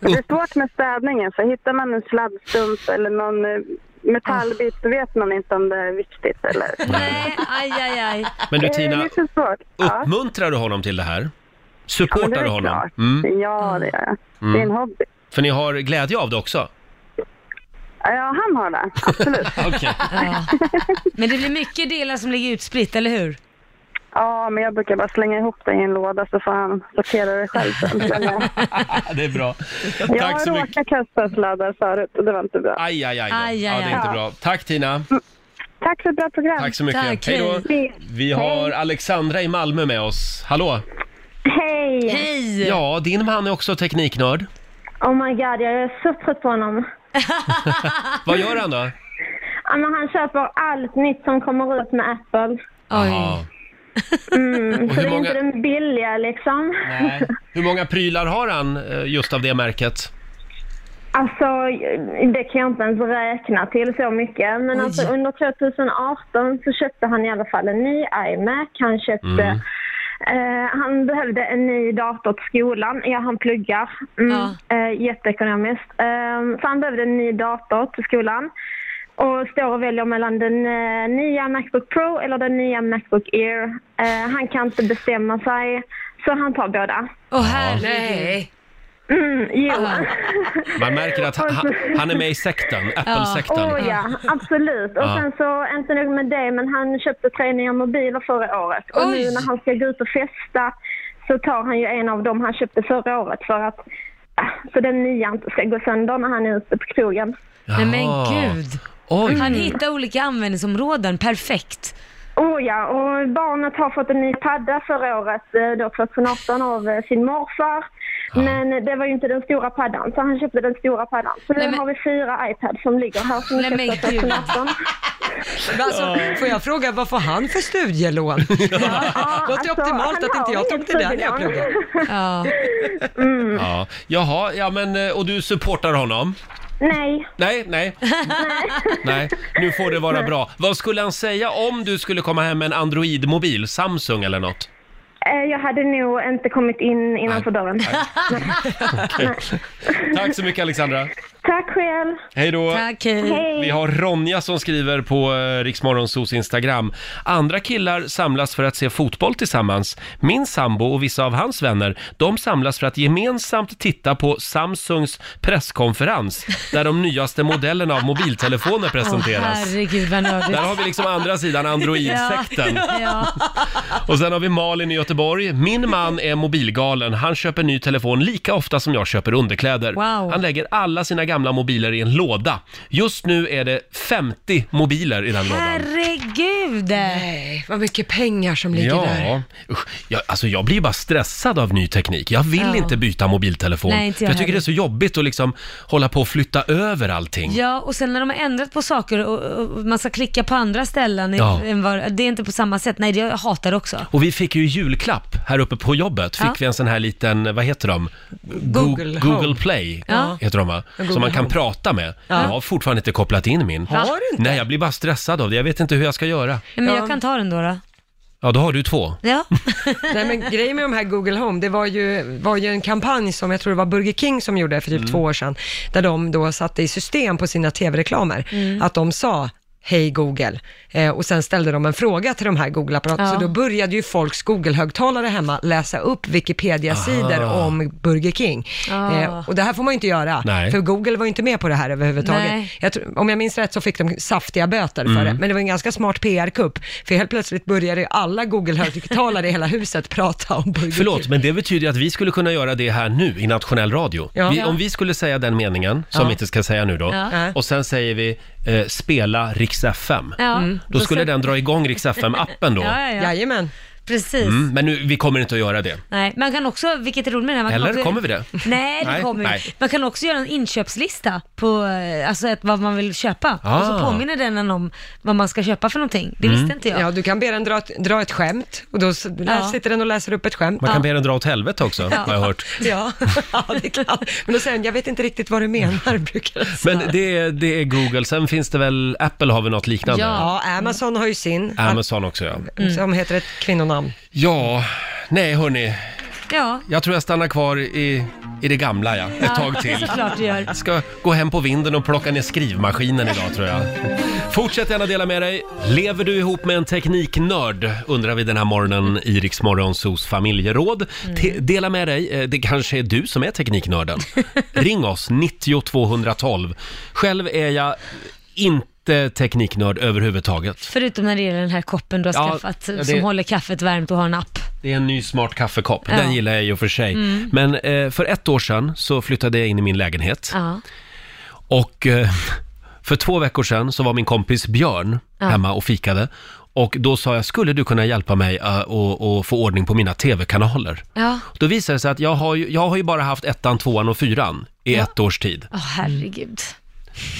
Speaker 8: Men det är svårt med städningen för hittar man en sladdstump eller någon eh, metallbit så vet man inte om det är viktigt eller...
Speaker 2: Nej, aj, aj, aj.
Speaker 1: Men du
Speaker 8: Eh, Det är
Speaker 1: Tina,
Speaker 8: lite svårt. Ja.
Speaker 1: uppmuntrar du honom till det här?
Speaker 8: Men det
Speaker 1: Supportar
Speaker 8: är
Speaker 1: du honom?
Speaker 8: klart.
Speaker 1: Mm.
Speaker 8: Ja, det gör jag. Det är en hobby.
Speaker 1: För ni har glädje av det också?
Speaker 8: Ja, han har det. Absolut.
Speaker 1: Okej.
Speaker 2: Ja. Men det blir mycket delar som ligger utspritt, eller hur?
Speaker 8: ja, men jag brukar bara slänga ihop det i en låda så får han sortera det själv sen. Men, eh,
Speaker 1: Det är bra.
Speaker 8: Jag
Speaker 1: Tack
Speaker 8: har
Speaker 1: så mycket.
Speaker 8: råkat kasta sladdar förut och det var inte bra.
Speaker 1: Aj, aj, aj. då.
Speaker 2: Aj, aj,
Speaker 1: Ja, det är
Speaker 2: aj.
Speaker 1: inte bra. Tack Tina.
Speaker 8: Mm. Tack för ett bra program.
Speaker 1: Tack så mycket.
Speaker 2: Tack,
Speaker 1: hej då.
Speaker 8: hej.
Speaker 1: Vi har Alexandra i Malmö med oss. Hallå!
Speaker 9: Hej!
Speaker 2: Hej!
Speaker 1: Ja, din man är också tekniknörd.
Speaker 9: Oh my god, jag är så trött på honom.
Speaker 1: Vad gör han då?
Speaker 9: Ja, men han köper allt nytt som kommer ut med Apple.
Speaker 1: Ja.
Speaker 2: Oj.
Speaker 9: Mm,
Speaker 1: Och
Speaker 9: så det
Speaker 1: hur
Speaker 9: är inte
Speaker 1: många-
Speaker 9: den billiga liksom.
Speaker 1: Nej. Hur många prylar har han eh, just av det märket?
Speaker 9: Alltså, det kan jag inte ens räkna till så mycket. Men
Speaker 2: Oj.
Speaker 9: alltså, under 2018 så köpte han i alla fall en ny iMac. Han köpte...
Speaker 2: Mm.
Speaker 9: Eh, han behövde en ny dator till skolan. Ja, han pluggar. Mm,
Speaker 2: Ja.
Speaker 9: eh, jätteekonomiskt. Eh, så han behövde en ny dator till skolan. Och står och väljer mellan den eh, nya Macbook Pro eller den nya Macbook Air. Eh, han kan inte bestämma sig, så han tar båda.
Speaker 2: Åh herregud.
Speaker 3: Nej.
Speaker 9: Mm, jo.
Speaker 1: Man märker att han, han- han är med i sekten, Apple-sekten.
Speaker 9: Åh Oh, ja, absolut. Och
Speaker 1: Ja.
Speaker 9: sen så, inte nog med det, men han köpte tre nya mobiler förra året. Och nu
Speaker 2: Oj.
Speaker 9: när han ska gå ut och festa så tar han ju en av dem han köpte förra året för att ah, så den nya inte ska gå sönder när han är ute på krogen.
Speaker 2: Nej men
Speaker 3: Ah.
Speaker 1: Jaha.
Speaker 2: gud.
Speaker 1: Oj.
Speaker 2: Han hittar olika användningsområden, perfekt.
Speaker 9: Oh ja, och barnet har fått en ny padda förra året, eh, då 2018, av eh, sin morfar. Men det var ju inte den stora paddan, så han köpte den stora paddan. Så nu
Speaker 2: Nej, men-
Speaker 9: har vi fyra iPads som ligger här som
Speaker 2: Nej, men
Speaker 9: är köpta
Speaker 2: gud.
Speaker 9: 2018.
Speaker 3: Men Alltså, får jag fråga, vad får han för studielån?
Speaker 9: Ja, alltså,
Speaker 3: Låter optimalt
Speaker 9: han
Speaker 3: att inte
Speaker 9: har
Speaker 3: jag tog
Speaker 9: inget
Speaker 3: det där när jag
Speaker 9: studielån.
Speaker 3: pluggade.
Speaker 2: Ja.
Speaker 1: Ja. Jaha, ja men eh, och du supportar honom?
Speaker 9: Nej,
Speaker 1: Nej, nej. nej, nu får det vara bra. Vad skulle han säga om du skulle komma hem med en Android-mobil, Samsung eller något?
Speaker 9: eh, jag hade nog inte kommit in innanför dörren.
Speaker 1: Tack så mycket Alexandra.
Speaker 7: Tack själv.
Speaker 1: Hej då!
Speaker 2: Tack, hej.
Speaker 7: Hej.
Speaker 1: Vi har Ronja som skriver på eh, Riksmorgonsos Instagram. Andra killar samlas för att se fotboll tillsammans. Min sambo och vissa av hans vänner, de samlas för att gemensamt titta på Samsungs presskonferens där de nyaste modellerna av mobiltelefoner
Speaker 2: Åh,
Speaker 1: presenteras.
Speaker 2: herregud vad nördigt.
Speaker 1: Där har vi liksom andra sidan Android-sekten.
Speaker 2: Ja.
Speaker 1: Och sen har vi Malin i Göteborg. Min man är mobilgalen. Han köper ny telefon lika ofta som jag köper underkläder.
Speaker 2: Wow.
Speaker 1: Han lägger alla sina gamla mobiler i en låda. Just nu är det 50 mobiler i den lådan.
Speaker 2: Herregud!
Speaker 3: Nej, vad mycket pengar som ligger där.
Speaker 1: Ja, usch, jag, alltså jag blir bara stressad av ny teknik. Jag vill
Speaker 2: Ja.
Speaker 1: inte byta mobiltelefon.
Speaker 2: Nej, inte
Speaker 1: för
Speaker 2: jag
Speaker 1: jag tycker
Speaker 2: heller.
Speaker 1: det är så jobbigt att liksom hålla på och flytta över allting.
Speaker 2: Ja, och sen när de har ändrat på saker och, och man ska klicka på andra ställen,
Speaker 1: Ja.
Speaker 2: än vad- det är inte på samma sätt. Nej, det jag hatar det också.
Speaker 1: Och vi fick ju i julklapp här uppe på jobbet, fick
Speaker 2: Ja.
Speaker 1: vi en sån här liten, vad heter de? Go-
Speaker 3: Google Home.
Speaker 1: Google Play
Speaker 2: Ja.
Speaker 1: heter de va? Som man kan prata med. Jag har fortfarande inte kopplat in min.
Speaker 3: Har du inte?
Speaker 1: Nej, jag blir bara stressad av det. Jag vet inte hur jag ska göra.
Speaker 2: Men
Speaker 3: Ja.
Speaker 2: jag kan ta den då. då.
Speaker 1: Ja, då har du två.
Speaker 2: Ja.
Speaker 3: Nej men grejen med de här Google Home, det var ju, var ju en kampanj som jag tror det var Burger King som gjorde för typ två år sedan, där de då satte i system på sina tv-reklamer
Speaker 2: Mm.
Speaker 3: att de sa Hej Google. Eh, och sen ställde de en fråga till de här Google-apparaterna,
Speaker 2: Ja.
Speaker 3: så då började ju folks Google-högtalare hemma läsa upp Wikipedia-sidor
Speaker 1: Ah.
Speaker 3: om Burger King.
Speaker 2: Ah.
Speaker 3: Eh, och det här får man ju inte göra,
Speaker 1: Nej.
Speaker 3: för Google var ju inte med på det här överhuvudtaget.
Speaker 2: Nej.
Speaker 3: Jag tror, om jag minns rätt så fick de saftiga böter för
Speaker 1: Mm.
Speaker 3: det, men det var en ganska smart PR-kupp, för helt plötsligt började ju alla Google-högtalare i hela huset prata om Burger
Speaker 1: Förlåt,
Speaker 3: King.
Speaker 1: men det betyder ju att vi skulle kunna göra det här nu i nationell radio.
Speaker 3: Ja.
Speaker 1: Vi,
Speaker 3: Ja.
Speaker 1: om vi skulle säga den meningen, som
Speaker 3: Ja.
Speaker 1: vi inte ska säga nu då,
Speaker 2: Ja.
Speaker 1: och sen säger vi eh, spela Rix FM.
Speaker 2: Ja.
Speaker 1: Då skulle
Speaker 2: sen-
Speaker 1: den dra igång Rix FM-appen då.
Speaker 2: Ja, ja, ja.
Speaker 3: Jajamän.
Speaker 2: Precis.
Speaker 1: Mm, men nu, vi kommer inte att göra det.
Speaker 2: Nej, man kan också, vilket är roligt med det här, man kan
Speaker 1: Eller
Speaker 2: också,
Speaker 1: kommer vi det?
Speaker 2: Nej, det
Speaker 1: Nej,
Speaker 2: kommer vi.
Speaker 1: nej.
Speaker 2: Man kan också göra en inköpslista på eh, alltså, ett, vad man vill köpa. Och
Speaker 1: Ah. Mm.
Speaker 2: så påminner den en om vad man ska köpa för någonting. Det visste inte jag.
Speaker 3: Ja, du kan be den dra ett, dra ett skämt och då s- lä-
Speaker 2: Ja.
Speaker 3: sitter den och läser upp ett skämt.
Speaker 1: Man kan be den dra åt helvete också, har jag hört.
Speaker 3: Ja, ja det är klart. Men då säger den, jag vet inte riktigt vad du menar, brukar den säga.
Speaker 1: Men det, är- det är Google, sen finns det väl, Apple har väl något liknande?
Speaker 3: Ja, Amazon har ju sin,
Speaker 1: Amazon också ja.
Speaker 2: Mm.
Speaker 3: som heter ett kvinnonamn.
Speaker 1: Ja, nej hörni,
Speaker 2: Ja,
Speaker 1: jag tror jag stannar kvar i, i det gamla ja, ett tag
Speaker 2: det är
Speaker 1: till.
Speaker 2: såklart du gör.
Speaker 1: Jag ska gå hem på vinden och plocka ner skrivmaskinen idag tror jag. Fortsätt gärna dela med dig. Lever du ihop med en tekniknörd? Undrar vi den här morgonen i Rix Morgonzos familjeråd.
Speaker 2: Mm.
Speaker 1: Te- dela med dig. Eh, Det kanske är du som är tekniknörden. Ring oss, 90 212. Själv är jag inte tekniknörd överhuvudtaget.
Speaker 2: Förutom när det gäller den här koppen du har
Speaker 1: Ja,
Speaker 2: skaffat
Speaker 1: ja, det-
Speaker 2: som håller kaffet varmt och har en app.
Speaker 1: Det är en ny smart kaffekopp.
Speaker 2: Ja. Mm.
Speaker 1: Den gillar jag i och för sig. Men eh, för ett år sedan så flyttade jag in i min lägenhet.
Speaker 2: Ja.
Speaker 1: Och eh, för två veckor sedan så var min kompis Björn
Speaker 2: Ja.
Speaker 1: hemma och fikade. Och då sa jag, skulle du kunna hjälpa mig eh, att att få ordning på mina tv-kanaler?
Speaker 2: Ja,
Speaker 1: Då visade det sig att jag har, ju, jag har ju bara haft ettan, tvåan och fyran i ett års tid.
Speaker 2: åh herregud.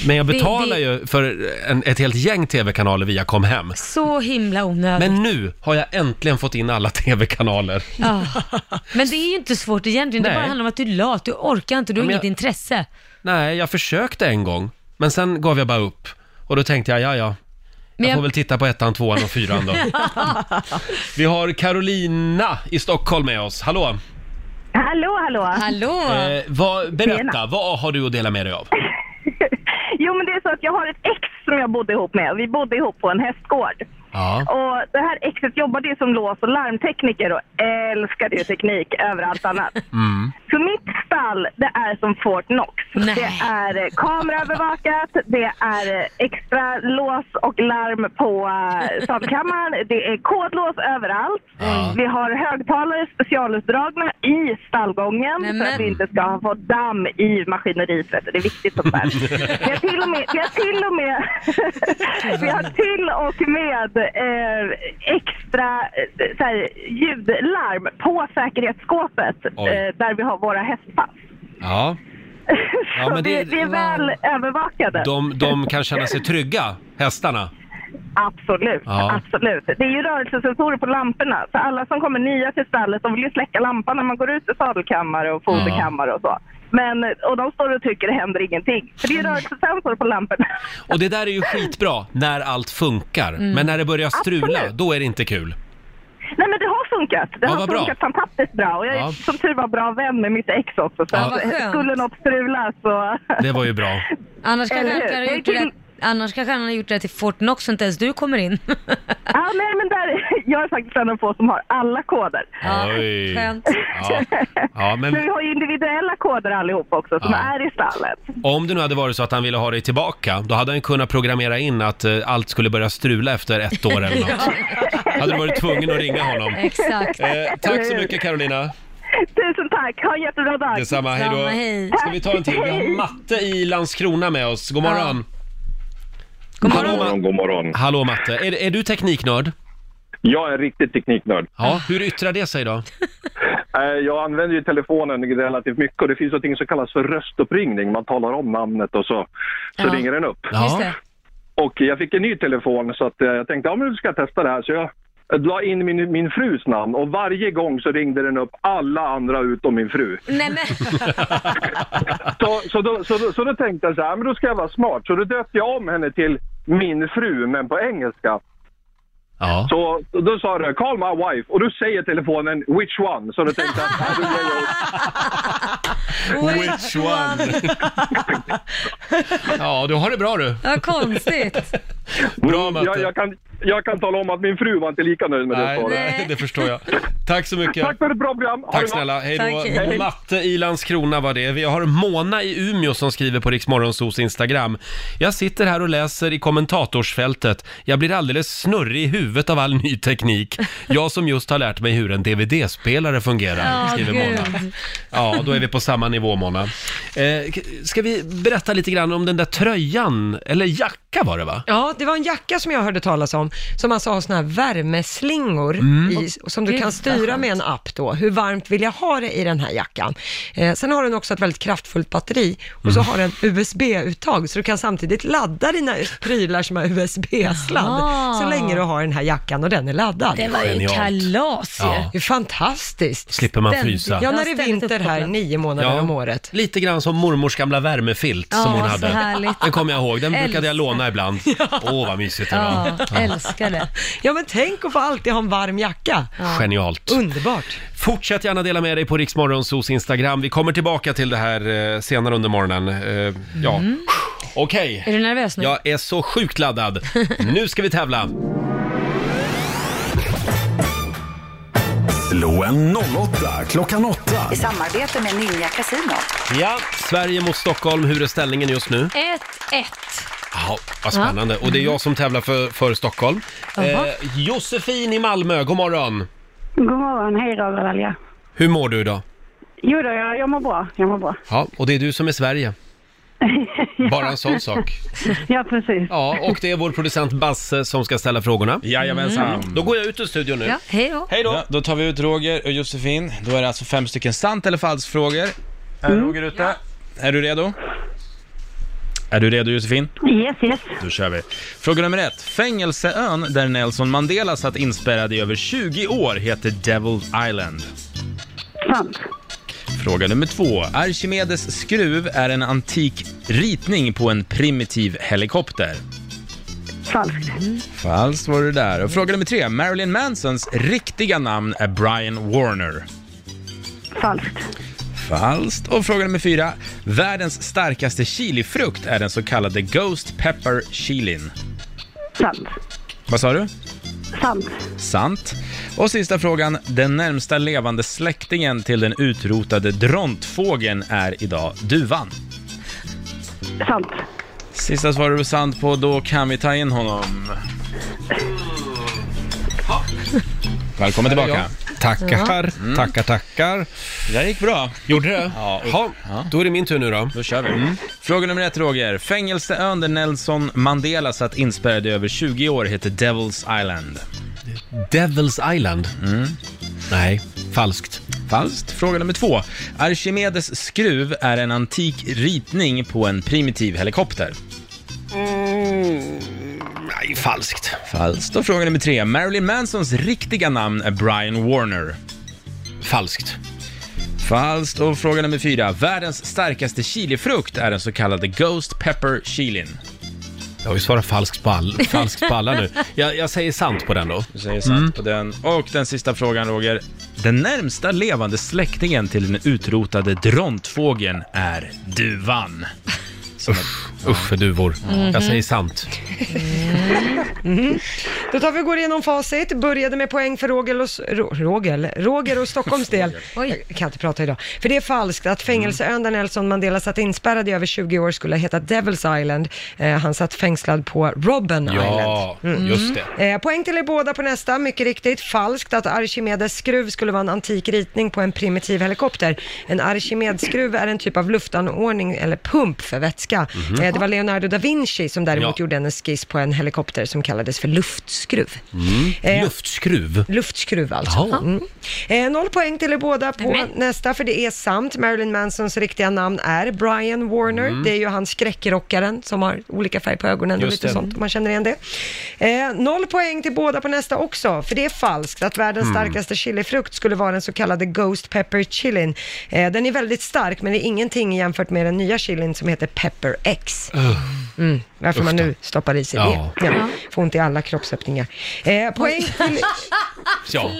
Speaker 1: Men jag
Speaker 2: Det-
Speaker 1: betalar
Speaker 2: det-
Speaker 1: ju för en, ett helt gäng tv-kanaler via Comhem.
Speaker 2: Så himla onödigt.
Speaker 1: Men nu har jag äntligen fått in alla tv-kanaler.
Speaker 2: Ja. Men det är ju inte svårt egentligen,
Speaker 1: Nej.
Speaker 2: det bara handlar om att du är lat, du orkar inte, du har
Speaker 1: men
Speaker 2: inget
Speaker 1: jag-
Speaker 2: intresse.
Speaker 1: Nej, jag försökte en gång, men sen gav jag bara upp. Och då tänkte jag, ja ja,
Speaker 2: Men
Speaker 1: jag
Speaker 2: jag-
Speaker 1: får väl titta på ettan, tvåan och fyran då. Vi har Carolina i Stockholm med oss. Hallå!
Speaker 7: Hallå, hallå.
Speaker 2: Hallå!
Speaker 1: Eh, vad, berätta,
Speaker 7: Tjena.
Speaker 1: vad har du att dela med dig av?
Speaker 7: Jo, men det är så att jag har ett ex som jag bodde ihop med. Vi bodde ihop på en hästgård.
Speaker 1: Ja.
Speaker 7: Och det här exet jobbade ju som lås och larmtekniker och älskade ju teknik över allt annat. Så mitt stall, det är som Fort Knox.
Speaker 2: Nej.
Speaker 7: Det är eh, kameraövervakat, det är eh, extra lås och larm på eh, stallkammaren, det är kodlås överallt.
Speaker 1: Ja.
Speaker 7: Vi har högtalare specialutdragna i stallgången
Speaker 2: Nej,
Speaker 7: för
Speaker 2: men-
Speaker 7: att vi inte ska få damm i maskineriet. vet du. Det är viktigt sånt där. Vi har till och med, vi har till och med, vi har till och med eh, extra eh, så här, ljudlarm på säkerhetsskåpet
Speaker 1: Oj.
Speaker 7: eh, där vi har våra hästpass.
Speaker 1: ja. Ja,
Speaker 7: Så
Speaker 1: men
Speaker 7: vi,
Speaker 1: det-
Speaker 7: vi är
Speaker 1: wow.
Speaker 7: väl övervakade.
Speaker 1: De, de kan känna sig trygga, hästarna.
Speaker 7: Absolut,
Speaker 1: Ja.
Speaker 7: absolut. Det är ju rörelsesensorer på lamporna. Så alla som kommer nya till stallet, de vill ju släcka lampan när man går ut i sadelkammare och foderkammare och så. Men, och de står och tycker det händer ingenting. För det är
Speaker 1: Mm.
Speaker 7: ju rörelsesensorer på lamporna.
Speaker 1: Och det där är ju skitbra när allt funkar. Men när det börjar strula,
Speaker 7: Absolut.
Speaker 1: då är det inte kul.
Speaker 7: Nej men det har
Speaker 10: funkat. Det
Speaker 1: Ja,
Speaker 10: har
Speaker 1: vad bra.
Speaker 10: funkat fantastiskt bra. Och jag är
Speaker 1: Ja.
Speaker 10: som tur var bra vän med mitt ex också. Så
Speaker 1: Ja.
Speaker 10: att,
Speaker 1: Vad skönt.
Speaker 10: skulle något strula så...
Speaker 1: Det var ju bra.
Speaker 2: Annars kanske,
Speaker 10: Eller
Speaker 2: han
Speaker 10: hur?
Speaker 2: kan ha
Speaker 10: Jag
Speaker 2: gjort det där,
Speaker 10: till-
Speaker 2: annars kanske han har gjort det där till Fortnox så inte ens du kommer in.
Speaker 10: Ja, nej, men där, jag är faktiskt en av få som har alla koder.
Speaker 1: Oj.
Speaker 2: skönt.
Speaker 1: Ja. Ja,
Speaker 10: Men...
Speaker 1: men
Speaker 10: vi har ju individuella koder allihop också som
Speaker 1: Ja.
Speaker 10: är i stallet.
Speaker 1: om det nu hade varit så att han ville ha dig tillbaka, då hade han kunnat programmera in att eh, allt skulle börja strula efter ett år eller något. Hade du varit tvungen att ringa honom.
Speaker 2: Exakt.
Speaker 1: Eh, tack så mycket Carolina.
Speaker 10: Tusen tack, ha en jättebra dag.
Speaker 1: Detsamma, hej då.
Speaker 2: Detsamma, hej.
Speaker 1: Ska vi ta en till? Vi har Matte i Landskrona med oss. God morgon.
Speaker 2: God
Speaker 1: Hallå,
Speaker 2: morgon.
Speaker 1: Ma-
Speaker 11: God morgon.
Speaker 1: Hallå Matte, är, är du tekniknörd?
Speaker 11: Jag är en riktig tekniknörd.
Speaker 1: Ja, hur yttrar det sig då?
Speaker 11: Eh, Jag använder ju telefonen relativt mycket och det finns något som kallas för röstuppringning. Man talar om namnet och så, så
Speaker 2: Ja.
Speaker 11: ringer den upp.
Speaker 2: Just det.
Speaker 11: Och jag fick en ny telefon så att eh, jag tänkte, ja men nu ska jag testa det här. Så jag la in min, min frus namn och varje gång så ringde den upp alla andra utom min fru.
Speaker 2: Nej men,
Speaker 11: Så, så, då, så, då, så då tänkte jag så här, men då ska jag vara smart. Så då döpte jag om henne till min fru, men på engelska.
Speaker 1: Ja.
Speaker 11: Så då sa du “Call my wife” och då säger telefonen “Which one?” Så då tänkte jag "Ja, då ger jag upp."
Speaker 1: Which one? ja, du har det bra du.
Speaker 2: vad konstigt.
Speaker 1: Bra Matte.
Speaker 11: Mm, jag, jag, kan, jag kan tala om att min fru var inte lika nöjd med det
Speaker 1: Nej,
Speaker 11: svaret.
Speaker 1: nej, det förstår jag. Tack så mycket.
Speaker 11: Tack för ett bra program! Ha det
Speaker 1: Tack
Speaker 11: bra.
Speaker 1: snälla, hej
Speaker 2: Tack,
Speaker 1: då.
Speaker 2: hej.
Speaker 1: Matte i Landskrona var det. Vi har Mona i Umeå som skriver på Riksmorgonsos Instagram. Jag sitter här och läser i kommentatorsfältet. Jag blir alldeles snurrig i huvudet av all ny teknik. Jag som just har lärt mig hur en DVD-spelare fungerar,
Speaker 2: Ja,
Speaker 1: skriver
Speaker 2: gud.
Speaker 1: Mona. Ja, då är vi på samma nivå Mona. Eh, k- ska vi berätta lite grann om den där tröjan, eller jacka var det va?
Speaker 3: Ja, det var en jacka som jag hörde talas om, som alltså har sådana här värmeslingor i, som
Speaker 2: Mm.
Speaker 3: du
Speaker 2: Gud,
Speaker 3: kan
Speaker 2: vad
Speaker 3: styra
Speaker 2: skönt.
Speaker 3: med en app då. Hur varmt vill jag ha det i den här jackan? Eh, sen har den också ett väldigt kraftfullt batteri och så
Speaker 2: Mm.
Speaker 3: har den USB-uttag, så du kan samtidigt ladda dina prylar som har USB-sladd,
Speaker 2: Aha.
Speaker 3: så länge du har den här jackan och den är laddad.
Speaker 2: Det var ju
Speaker 1: Genialt.
Speaker 2: kalas ju.
Speaker 1: Ja.
Speaker 3: Det är fantastiskt.
Speaker 1: Slipper man
Speaker 2: Ständigt.
Speaker 1: frysa.
Speaker 3: Ja, när det
Speaker 2: Jag
Speaker 3: är
Speaker 2: har ständigt
Speaker 3: vinter här,
Speaker 2: uppkopplat.
Speaker 3: nio månader
Speaker 1: Ja.
Speaker 3: om året.
Speaker 1: Lite grann som mormors gamla värmefilt
Speaker 2: Ja,
Speaker 1: som hon
Speaker 2: så
Speaker 1: hade.
Speaker 2: härligt.
Speaker 1: Den kommer jag ihåg, den brukade
Speaker 2: Älskar.
Speaker 1: jag låna ibland. Åh, vad mysigt det var.
Speaker 2: Ja, älskar det.
Speaker 3: Ja, men tänk att få alltid ha en varm jacka.
Speaker 1: Genialt.
Speaker 3: Underbart.
Speaker 1: Fortsätt gärna dela med dig på Riksmorgonsos Instagram. Vi kommer tillbaka till det här eh, senare under morgonen. Eh, ja. Okej,
Speaker 2: Mm. Är du nervös nu?
Speaker 1: jag är så sjukt laddad. Nu ska vi tävla.
Speaker 6: Slå en 08 klockan 8.
Speaker 12: I samarbete med Ninja Casino.
Speaker 1: Ja, Sverige mot Stockholm. Hur är ställningen just nu?
Speaker 2: 1-1.
Speaker 1: Ja, vad spännande. Och det är jag som tävlar för, för Stockholm. Eh,
Speaker 2: Jaha.
Speaker 1: Josefin i Malmö, god morgon.
Speaker 8: God morgon, hej Roger Dalja.
Speaker 1: Hur mår du idag?
Speaker 8: Jo då, jag, jag mår bra. Jag mår bra.
Speaker 1: Ja, och det är du som är Sverige. Bara en sån sak.
Speaker 8: Ja, precis.
Speaker 1: Ja, och det är vår producent Basse som ska ställa frågorna. Mm.
Speaker 5: Jajamensan.
Speaker 1: Då går jag ut ur studion nu.
Speaker 2: Ja, hej då.
Speaker 5: Hej då! Ja, då tar vi ut Roger och Josefin. Då är det alltså fem stycken sant eller falskt-frågor. Är Roger ute? Är du redo? Är du redo Josefin?
Speaker 8: Yes, yes.
Speaker 5: Då kör vi. Fråga nummer ett. Fängelseön där Nelson Mandela satt inspärrad i över 20 år heter Devil's Island.
Speaker 8: Sant.
Speaker 5: Fråga nummer två. Archimedes skruv är en antik ritning på en primitiv helikopter.
Speaker 8: Falskt.
Speaker 5: Falskt var det där. Och fråga nummer tre. Marilyn Mansons riktiga namn är Brian Warner.
Speaker 8: Falskt.
Speaker 5: Falskt. Och fråga nummer fyra. Världens starkaste chilifrukt är den så kallade Ghost Pepper chilin.
Speaker 8: Sant.
Speaker 5: Vad sa du?
Speaker 8: Sant.
Speaker 5: Sant. Och sista frågan. Den närmsta levande släktingen till den utrotade drontfågeln är idag duvan.
Speaker 8: Sant.
Speaker 5: Sista svarar du sant på, då kan vi ta in honom. Välkommen tillbaka.
Speaker 1: Tackar, tackar, tackar.
Speaker 5: Det där gick bra.
Speaker 1: Gjorde det?
Speaker 5: Ja.
Speaker 1: Ja, då är det min tur nu då. Mm.
Speaker 5: Då kör vi. Fråga nummer ett, Roger. Fängelseön där Nelson Mandela satt inspärrad i över 20 år heter Devil's Island.
Speaker 1: Devil's Island.
Speaker 5: Mm.
Speaker 1: Nej, falskt.
Speaker 5: Falskt. Fråga nummer två. Archimedes skruv är en antik ritning på en primitiv helikopter.
Speaker 1: Nej, falskt.
Speaker 5: Falskt. Och fråga nummer tre. Marilyn Mansons riktiga namn är Brian Warner.
Speaker 1: Falskt.
Speaker 5: Falskt. Och fråga nummer fyra. Världens starkaste chilifrukt är den så kallade Ghost Pepper chilin.
Speaker 1: Jag har ju svarat falskt på, all, falskt på alla nu. Jag, jag säger sant på den då. Mm.
Speaker 5: Du säger sant på den. Och den sista frågan Roger. Den närmsta levande släktingen till den utrotade drontfågeln är duvan. Usch,
Speaker 1: usch för duvor.
Speaker 3: Mhm.
Speaker 1: Jag säger sant.
Speaker 3: Mm. Då tar vi och går igenom facit. Började med poäng för Roger och, Ro- Roger, Roger och Stockholms del. Jag kan inte prata idag. För det är falskt att fängelseön där Nelson Mandela satt inspärrad i över 20 år skulle heta Devil's Island. Eh, han satt fängslad på Robben
Speaker 1: Ja,
Speaker 3: Island.
Speaker 1: just det.
Speaker 3: Eh, poäng till er båda på nästa. Mycket riktigt. Falskt att Archimedes skruv skulle vara en antik ritning på en primitiv helikopter. En Archimedes-skruv är en typ av luftanordning eller pump för vätska.
Speaker 13: Mhm.
Speaker 3: Eh, det var Leonardo da Vinci som däremot
Speaker 13: Ja.
Speaker 3: gjorde en skiss på en helikopter som kallades för luftskruv.
Speaker 2: Eh.
Speaker 1: Mm. Luftskruv.
Speaker 3: Luftskruv alltså.
Speaker 1: Jaha.
Speaker 3: Mm. Eh, noll poäng till er båda på
Speaker 1: Nämen.
Speaker 3: nästa, för det är sant. Marilyn Mansons riktiga namn är Brian Warner.
Speaker 13: Mm.
Speaker 3: Det är ju han skräckrockaren som har olika färg på ögonen och
Speaker 13: Just
Speaker 3: lite
Speaker 13: det.
Speaker 3: sånt, om man känner igen det. Eh, noll poäng till båda på nästa också, för det är falskt att världens
Speaker 13: Mm.
Speaker 3: starkaste chilifrukt skulle vara den så kallade Ghost Pepper Chilin. Eh, den är väldigt stark, men det är ingenting jämfört med den nya chilin som heter Pepper X. Mm, varför man nu stoppar i sig
Speaker 1: Ja.
Speaker 3: det. Ja, får ont i alla kroppsöppningar. Eh, poäng till...
Speaker 1: Ja,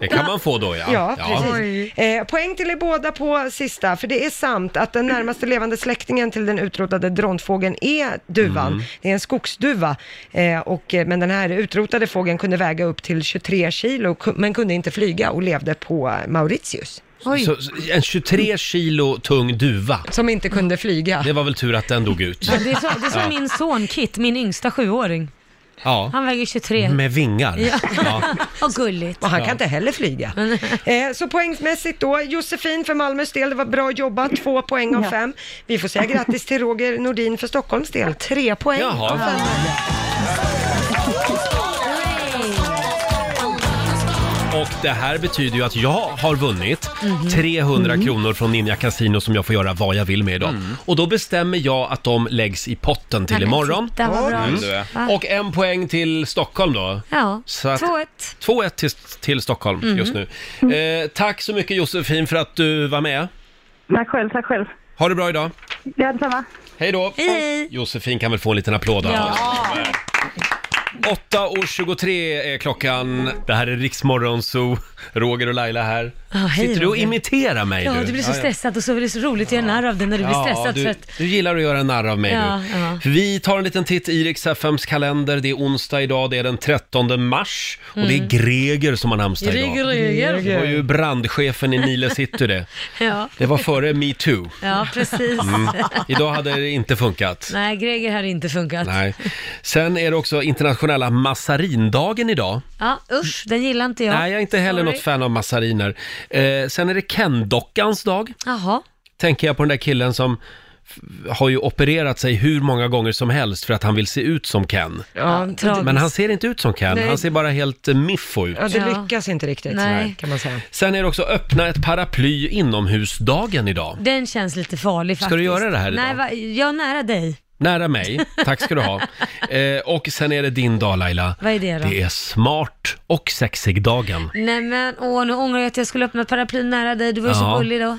Speaker 1: det kan man få då ja.
Speaker 3: Ja, precis. Eh, poäng till er båda på sista, för det är sant att den närmaste levande släktingen till den utrotade drontfågeln är duvan.
Speaker 13: Mm.
Speaker 3: Det är en skogsduva, eh, och, eh, men den här utrotade fågeln kunde väga upp till 23 kilo, ku- men kunde inte flyga och levde på Mauritius.
Speaker 1: Så, så- en 23 kilo tung duva.
Speaker 3: Som inte kunde flyga.
Speaker 1: Det var väl tur att den dog ut.
Speaker 2: Ja, det är så, det är så
Speaker 1: Ja.
Speaker 2: min son Kit, min yngsta sjuåring.
Speaker 1: Ja.
Speaker 2: Han väger 23.
Speaker 1: Med vingar.
Speaker 2: Ja.
Speaker 1: Ja.
Speaker 2: Och gulligt.
Speaker 3: Och han kan inte heller flyga. Eh, så poängmässigt då, Josefin för Malmös del, det var bra jobbat, två poäng av
Speaker 13: Ja.
Speaker 3: fem. Vi får säga grattis till Roger Nordin för Stockholms del, tre poäng
Speaker 13: Jaha.
Speaker 3: av fem.
Speaker 1: Och det här betyder ju att jag har vunnit
Speaker 2: Mhm.
Speaker 1: 300 kronor från Ninja Casino som jag får göra vad jag vill med idag. Och då bestämmer jag att de läggs i potten till
Speaker 2: Nej, men
Speaker 1: imorgon.
Speaker 2: titta, vad bra.
Speaker 1: Mm.
Speaker 2: Va?
Speaker 1: Och en poäng till Stockholm då.
Speaker 2: Ja,
Speaker 1: Så att-
Speaker 2: 2-1.
Speaker 1: 2-1 till, till Stockholm
Speaker 2: Mm.
Speaker 1: just nu. Eh, tack så mycket Josefin för att du var med.
Speaker 10: Tack själv, tack själv.
Speaker 1: Ha det bra idag.
Speaker 10: Ja, detsamma.
Speaker 1: Hej då! Josefin kan väl få en liten applåd av oss. 8.23 är klockan. Det här är Riksmorgon Zoo. Roger och Laila här.
Speaker 2: Ja, hej,
Speaker 1: Sitter du och
Speaker 2: Roger.
Speaker 1: imiterar mig
Speaker 2: Ja,
Speaker 1: nu?
Speaker 2: du blir så stressad och så är det så roligt att göra narr av dig när du blir stressad.
Speaker 1: du,
Speaker 2: för att,
Speaker 1: du gillar att göra narr av mig
Speaker 2: Ja,
Speaker 1: nu.
Speaker 2: ja.
Speaker 1: Vi tar en liten titt i Rix FMs kalender. Det är onsdag idag, det är den 13 mars och det är
Speaker 2: Mm.
Speaker 1: Greger som har namnsdag idag.
Speaker 2: Greger. Greger.
Speaker 1: Det var ju brandchefen i Nile City det.
Speaker 2: ja,
Speaker 1: Det var före metoo.
Speaker 2: ja, precis.
Speaker 1: Mm. Idag hade det inte funkat.
Speaker 2: Nej, Greger hade inte funkat.
Speaker 1: Nej. Sen är det också internationella massarindagen idag.
Speaker 2: Ja, usch, den gillar inte jag.
Speaker 1: Nej, jag är inte heller
Speaker 2: Sorry.
Speaker 1: något fan av massariner. Eh, sen är det Ken-dockans dag.
Speaker 2: Jaha.
Speaker 1: Tänker jag på den där killen som f- har ju opererat sig hur många gånger som helst för att han vill se ut som Ken.
Speaker 3: Ja, tragiskt.
Speaker 1: Men han ser inte ut som Ken,
Speaker 3: Nej.
Speaker 1: han ser bara helt eh, miffo ut.
Speaker 3: Ja, det lyckas inte riktigt,
Speaker 2: Nej.
Speaker 3: kan man säga.
Speaker 1: Sen är det också öppna ett paraply inomhusdagen idag.
Speaker 2: Den känns lite farlig faktiskt.
Speaker 1: Ska du göra det här idag?
Speaker 2: Nej, va, jag är nära dig.
Speaker 1: Nära mig, tack ska du ha. Eh, och sen är det din dag Laila.
Speaker 2: Vad är det då?
Speaker 1: Det är smart och sexig-dagen.
Speaker 2: Nej men åh, nu ångrar jag att jag skulle öppna paraplyn nära dig. Du var ju
Speaker 1: Ja.
Speaker 2: så gullig då.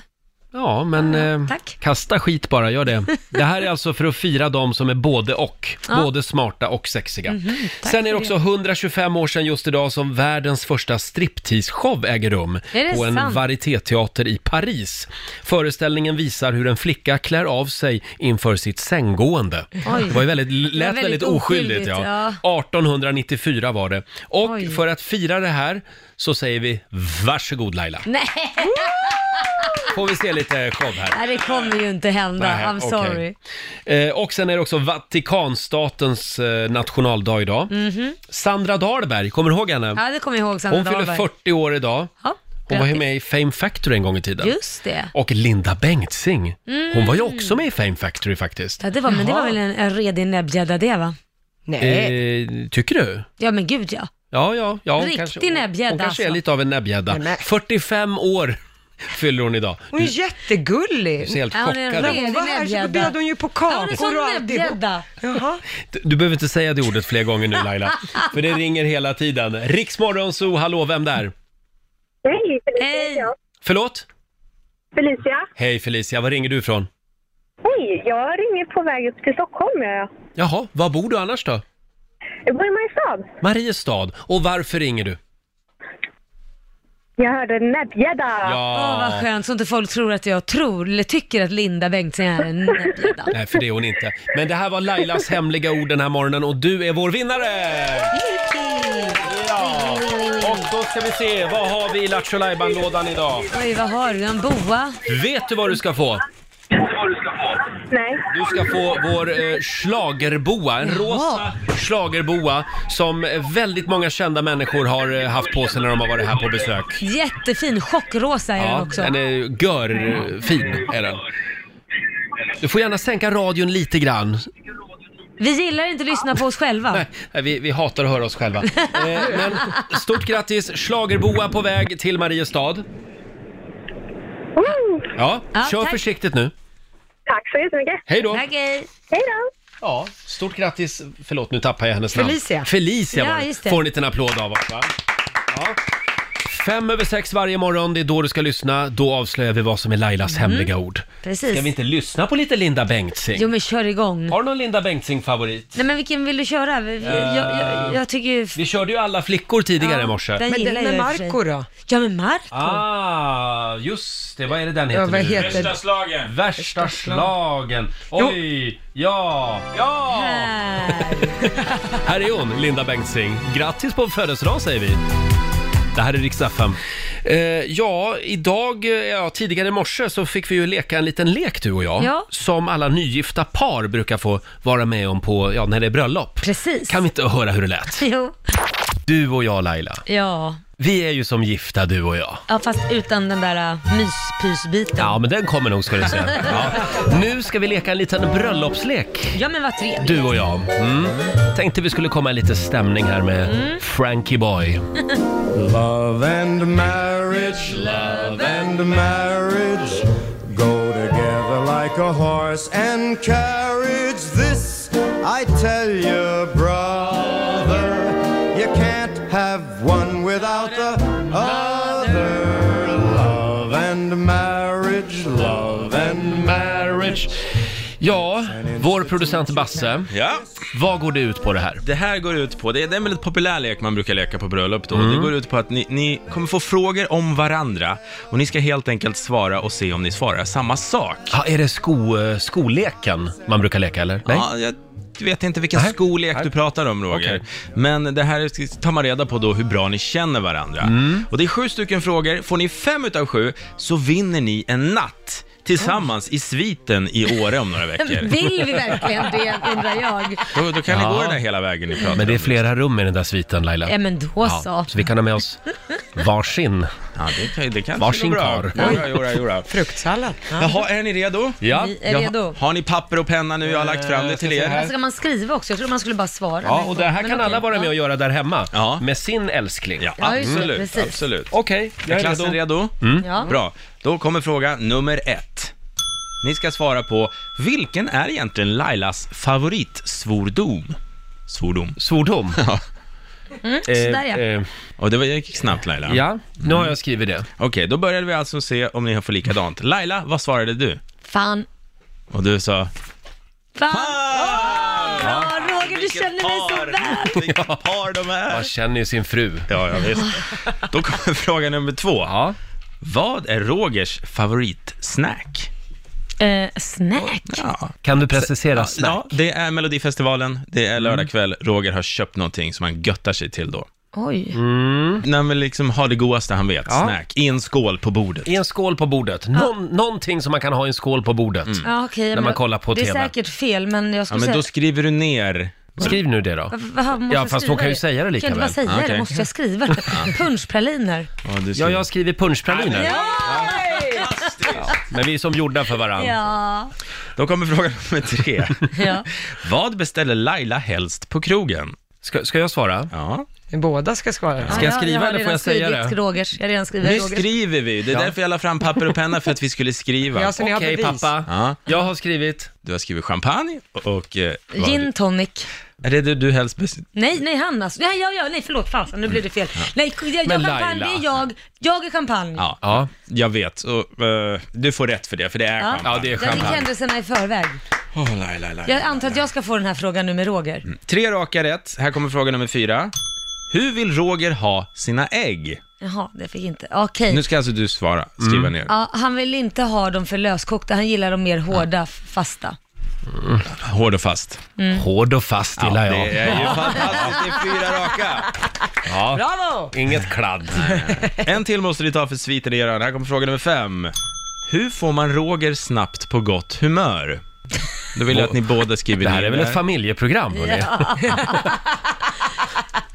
Speaker 1: Ja, men
Speaker 2: Ah,
Speaker 1: eh, kasta skit bara, gör det. Det här är alltså för att fira de som är både och.
Speaker 2: Ja.
Speaker 1: Både smarta och sexiga.
Speaker 2: Mhm, tack
Speaker 1: Sen är det
Speaker 2: för
Speaker 1: också 125 år sedan just idag som världens första striptease-show äger rum
Speaker 2: Är det
Speaker 1: på en
Speaker 2: sant?
Speaker 1: varietéteater i Paris. Föreställningen visar hur en flicka klär av sig inför sitt sänggående.
Speaker 2: Oj.
Speaker 1: Det var ju väldigt, lät
Speaker 2: Det var
Speaker 1: väldigt,
Speaker 2: väldigt
Speaker 1: oskyldigt.
Speaker 2: oskyldigt,
Speaker 1: Ja. 1894 var det. Och för att fira det här så säger vi varsågod Laila.
Speaker 2: Nej,
Speaker 1: Får vi se lite show här.
Speaker 2: Nej, det kommer ju inte hända.
Speaker 1: Nej,
Speaker 2: I'm
Speaker 1: okej.
Speaker 2: sorry.
Speaker 1: Eh, och sen är det också Vatikanstatens eh, nationaldag idag.
Speaker 2: Mhm.
Speaker 1: Sandra Dahlberg, kommer du ihåg henne?
Speaker 2: Ja, det kommer jag ihåg Sandra
Speaker 1: Hon fyller
Speaker 2: Dahlberg.
Speaker 1: 40 år idag.
Speaker 2: Ja,
Speaker 1: Hon var ju
Speaker 2: grattis.
Speaker 1: med i Fame Factory en gång i tiden.
Speaker 2: Just det.
Speaker 1: Och Linda Bengtzing, hon
Speaker 2: Mm.
Speaker 1: var ju också med i Fame Factory faktiskt.
Speaker 2: Ja, det var, men det var väl en, en redig näbbgädda det va?
Speaker 1: Eh, tycker du?
Speaker 2: Ja men gud ja.
Speaker 1: Ja, ja, ja. hon
Speaker 2: Riktig
Speaker 1: kanske- hon-
Speaker 2: näbbgädda,
Speaker 1: Hon kanske är
Speaker 2: alltså.
Speaker 1: lite av en näbbgädda. 45 år fyller hon idag.
Speaker 3: Hon är jättegullig.
Speaker 1: Du ser helt
Speaker 3: hon
Speaker 1: chockad
Speaker 3: När
Speaker 1: ut.
Speaker 3: hon var här så bjöd hon ju på
Speaker 2: hon är
Speaker 3: kakor
Speaker 2: sån
Speaker 3: och alltihop.
Speaker 2: näbbgädda.
Speaker 3: Jaha.
Speaker 1: Du- Du behöver inte säga det ordet fler gånger nu Laila, för det ringer hela tiden. Riksmorgon, så hallå, vem där?
Speaker 9: Hej, Felicia.
Speaker 1: Förlåt?
Speaker 9: Felicia.
Speaker 1: Hej Felicia, var ringer du ifrån?
Speaker 9: Hej, jag ringer på väg upp till Stockholm. gör Jag,
Speaker 1: Jaha, var bor du annars då?
Speaker 9: jag bor i Mariestad.
Speaker 1: Mariestad. Och varför ringer du?
Speaker 9: Jag hörde en näbbgädda.
Speaker 1: Ja.
Speaker 2: Åh, vad skönt, så inte folk tror att jag tror eller tycker att Linda Bengtzing är en näbbgädda.
Speaker 1: Nej, för det är hon inte. Men det här var Lailas hemliga ord den här morgonen och du är vår vinnare! Ja. Och då ska vi se, vad har vi i Lattjo lådan idag?
Speaker 2: Oj, vad har du? En boa?
Speaker 1: Vet du vad du ska få?
Speaker 9: Nej.
Speaker 1: Du ska få vår eh, schlagerboa, en rosa schlagerboa som eh, väldigt många kända människor har eh, haft på sig när de har varit här på besök.
Speaker 2: Jättefin, chockrosa är den
Speaker 1: Ja,
Speaker 2: också.
Speaker 1: den är görfin är den. Du får gärna sänka radion lite grann.
Speaker 2: Vi gillar inte att lyssna på oss själva.
Speaker 1: Nej, Vi, vi hatar att höra oss själva. Eh, men stort grattis! Schlagerboa på väg till Mariestad. Ja,
Speaker 9: Ja,
Speaker 1: kör
Speaker 9: tack.
Speaker 1: försiktigt nu.
Speaker 9: Mm, Tack så jättemycket.
Speaker 1: Hej då.
Speaker 2: Tack, hej.
Speaker 9: Hej då.
Speaker 1: Ja, stort grattis. Förlåt, nu tappar jag hennes
Speaker 2: Felicia.
Speaker 1: namn. Felicia.
Speaker 2: Ja,
Speaker 1: var
Speaker 2: just det.
Speaker 1: Får en liten applåd av oss, va? Ja. Fem över sex varje morgon, det är då du ska lyssna. Då avslöjar vi vad som är Lailas hemliga ord.
Speaker 2: Mm. Precis.
Speaker 1: Ska vi inte lyssna på lite Linda Bengtzing?
Speaker 2: Jo men kör igång.
Speaker 1: Har du någon Linda Bengtzing-favorit?
Speaker 2: Nej men vilken vill du köra? Vi- vi- Jag, jag, jag tycker ju...
Speaker 1: Vi körde ju alla flickor tidigare i morse.
Speaker 2: Den gillar jag i och för sig. Ja men Marco.
Speaker 1: Ah, just det. Vad är det den
Speaker 2: Ja,
Speaker 1: heter
Speaker 2: vad
Speaker 1: nu?
Speaker 2: heter-
Speaker 5: Värsta slagen.
Speaker 1: Värsta slagen. Oj, ja, ja! Här är hon, Linda Bengtzing. Grattis på födelsedagen säger vi. Det här är riksdag eh, Ja, idag, eh, ja, tidigare i morse så fick vi ju leka en liten lek du och jag.
Speaker 2: Ja.
Speaker 1: Som alla nygifta par brukar få vara med om på, ja, när det är bröllop.
Speaker 2: Precis.
Speaker 1: Kan vi inte höra hur det lät?
Speaker 2: Jo.
Speaker 1: Du och jag Laila,
Speaker 2: Ja.
Speaker 1: vi är ju som gifta du och jag.
Speaker 2: ja, fast utan den där äh, myspysbiten.
Speaker 1: Ja, men den kommer nog ska du se. Ja. Nu ska vi leka en liten bröllopslek.
Speaker 2: Ja men vad trevligt.
Speaker 1: Du och jag. Mm. Tänkte vi skulle komma i lite stämning här med
Speaker 2: Mm.
Speaker 1: Frankie Boy.
Speaker 4: Love and marriage, love and marriage go together like a horse and carriage. This I tell you, brother, you can't have one without the other. Love and marriage, love and marriage.
Speaker 1: Ja, vår producent Basse.
Speaker 5: Ja.
Speaker 1: Vad går det ut på det här?
Speaker 5: Det här går ut på, det är det är en väldigt populär lek man brukar leka på bröllop då.
Speaker 1: Mm.
Speaker 5: Det går ut på att ni, ni kommer få frågor om varandra och ni ska helt enkelt svara och se om ni svarar samma sak.
Speaker 1: Ja, är det sko, eh, skolleken man brukar leka eller? Nej?
Speaker 5: Ja, jag vet inte vilken skolek du pratar om Roger. Men det här tar man reda på då hur bra ni känner varandra.
Speaker 1: Mm.
Speaker 5: Och det är sju stycken frågor. Får ni fem utav sju så vinner ni en natt tillsammans i sviten i Åre om några veckor.
Speaker 2: Vill vi verkligen det undrar jag.
Speaker 5: Då, då kan ni
Speaker 1: Ja.
Speaker 5: gå den här hela vägen ni pratar om.
Speaker 1: Men det är flera rum i den där sviten Laila.
Speaker 2: Ja men då så.
Speaker 1: Så vi kan ha med oss varsin.
Speaker 5: Ja, det kan, det kan
Speaker 1: varsin
Speaker 5: gå bra.
Speaker 1: karl.
Speaker 5: Jodå, jodå, jodå.
Speaker 3: Fruktsallad.
Speaker 5: Jaha, är ni redo?
Speaker 1: Ja.
Speaker 2: Vi är redo.
Speaker 5: Har ni papper och penna nu? Jag har lagt fram det till
Speaker 2: Här
Speaker 5: er.
Speaker 2: ska man skriva också? Jag trodde man skulle bara svara.
Speaker 1: Ja,
Speaker 2: Men-
Speaker 1: och det här
Speaker 2: men
Speaker 1: kan
Speaker 2: okej.
Speaker 1: alla vara med och göra där hemma.
Speaker 5: Ja.
Speaker 1: Med sin älskling.
Speaker 5: Ja,
Speaker 2: Ja, just det,
Speaker 5: absolut.
Speaker 2: precis.
Speaker 5: absolut.
Speaker 1: Okej, jag
Speaker 5: Är
Speaker 1: är
Speaker 5: klassen
Speaker 1: redo. Mm.
Speaker 5: redo?
Speaker 2: Ja.
Speaker 5: Bra. Då kommer fråga nummer ett. Ni ska svara på, vilken är egentligen Lailas favoritsvordom? Svordom.
Speaker 1: Svordom?
Speaker 5: Ja.
Speaker 1: Eh,
Speaker 2: Mm, sådär ja.
Speaker 5: Och det var- det gick snabbt Laila. Mm.
Speaker 1: Ja, nu har jag skrivit det.
Speaker 5: Okej, då började vi alltså se om ni har fått likadant. Laila, vad svarade du?
Speaker 2: Fan.
Speaker 5: Och du sa...
Speaker 2: Fan. Åh, bra Roger, du känner mig så väl.
Speaker 5: Vilket par de är!
Speaker 1: Man känner ju sin fru.
Speaker 5: Ja, ja visst. Då kommer fråga nummer två. Vad är Rogers favoritsnack?
Speaker 2: Eh, snack?
Speaker 5: Ja.
Speaker 1: Kan du precisera snabbt?
Speaker 5: ja, det är Melodifestivalen, det
Speaker 1: Mm.
Speaker 5: är lördag kväll, Roger har köpt någonting som han göttar sig till då.
Speaker 2: Oj.
Speaker 1: Mm.
Speaker 5: Nej men liksom ha det godaste han vet, snack, i en skål på bordet.
Speaker 1: I en skål på bordet. Någon, Någonting som man kan ha i en skål på bordet.
Speaker 2: Mm. Ja, okej,
Speaker 1: När
Speaker 2: men
Speaker 1: man kollar på
Speaker 2: det
Speaker 1: TV.
Speaker 2: är säkert fel, men jag
Speaker 5: Ja
Speaker 2: skulle
Speaker 5: men
Speaker 2: säga...
Speaker 5: då skriver du ner,
Speaker 1: Skriv nu det då.
Speaker 2: Va- va- måste
Speaker 1: Ja,
Speaker 2: jag
Speaker 1: fast
Speaker 2: skriva
Speaker 1: hon kan ju säga det lika
Speaker 2: Kan jag inte
Speaker 1: väl?
Speaker 2: bara säga
Speaker 5: Ja, okej.
Speaker 2: det? Måste jag skriva det? Punschpraliner.
Speaker 5: ja, du
Speaker 1: Ja,
Speaker 5: skriver.
Speaker 1: jag har skrivit punschpraliner.
Speaker 2: Ja!
Speaker 1: Men vi är som gjorda för varandra.
Speaker 2: Ja.
Speaker 5: Då kommer fråga nummer tre.
Speaker 2: ja.
Speaker 5: Vad beställer Laila helst på krogen?
Speaker 1: Ska, ska jag svara?
Speaker 5: Ja,
Speaker 3: Båda ska svara.
Speaker 1: Ska jag skriva eller får jag säga
Speaker 2: Jag har redan
Speaker 1: det?
Speaker 2: skrivit Rogers. Jag har redan skrivit
Speaker 5: nu
Speaker 2: Rogers.
Speaker 5: skriver vi, det är därför jag la fram papper och penna för att vi skulle skriva.
Speaker 3: Ja, så ni har
Speaker 1: Okej
Speaker 3: bevis.
Speaker 1: pappa,
Speaker 5: Ja.
Speaker 1: jag har skrivit.
Speaker 5: Du har skrivit champagne och... eh, vad-
Speaker 2: Gin tonic.
Speaker 5: Är det du, du helst bes-
Speaker 2: Nej, nej han alltså. Nej, ja, ja, nej förlåt, fasen nu blev det fel. Nej, jag, jag
Speaker 5: Men
Speaker 2: champagne, det
Speaker 5: Laila.
Speaker 2: är jag. Jag är champagne.
Speaker 5: Ja, ja. jag vet. Och, eh, du får rätt för det, för det är champagne.
Speaker 2: jag fick händelserna i förväg.
Speaker 5: Åh, Laila, Laila.
Speaker 2: Jag antar att jag ska få den här frågan nu med Roger.
Speaker 1: Mm.
Speaker 5: Tre raka rätt. Här kommer fråga nummer fyra. Hur vill Roger ha sina ägg?
Speaker 2: Jaha, det fick inte. Okej.
Speaker 5: Nu ska alltså du svara, skriva ner.
Speaker 2: Ja, han vill inte ha dem för löskokta, han gillar dem mer hårda, f- fasta.
Speaker 5: Hård och fast.
Speaker 2: Mm.
Speaker 1: Hård och fast gillar jag.
Speaker 5: Det är ju fantastiskt, det är fyra raka. Ja.
Speaker 2: Bravo!
Speaker 1: Inget kladd.
Speaker 5: En till måste du ta för sviter i öronen. Här kommer fråga nummer fem. Hur får man Roger snabbt på gott humör? Då vill jag att ni båda skriver
Speaker 1: Det här
Speaker 5: ner
Speaker 1: är väl ett familjeprogram, hörni?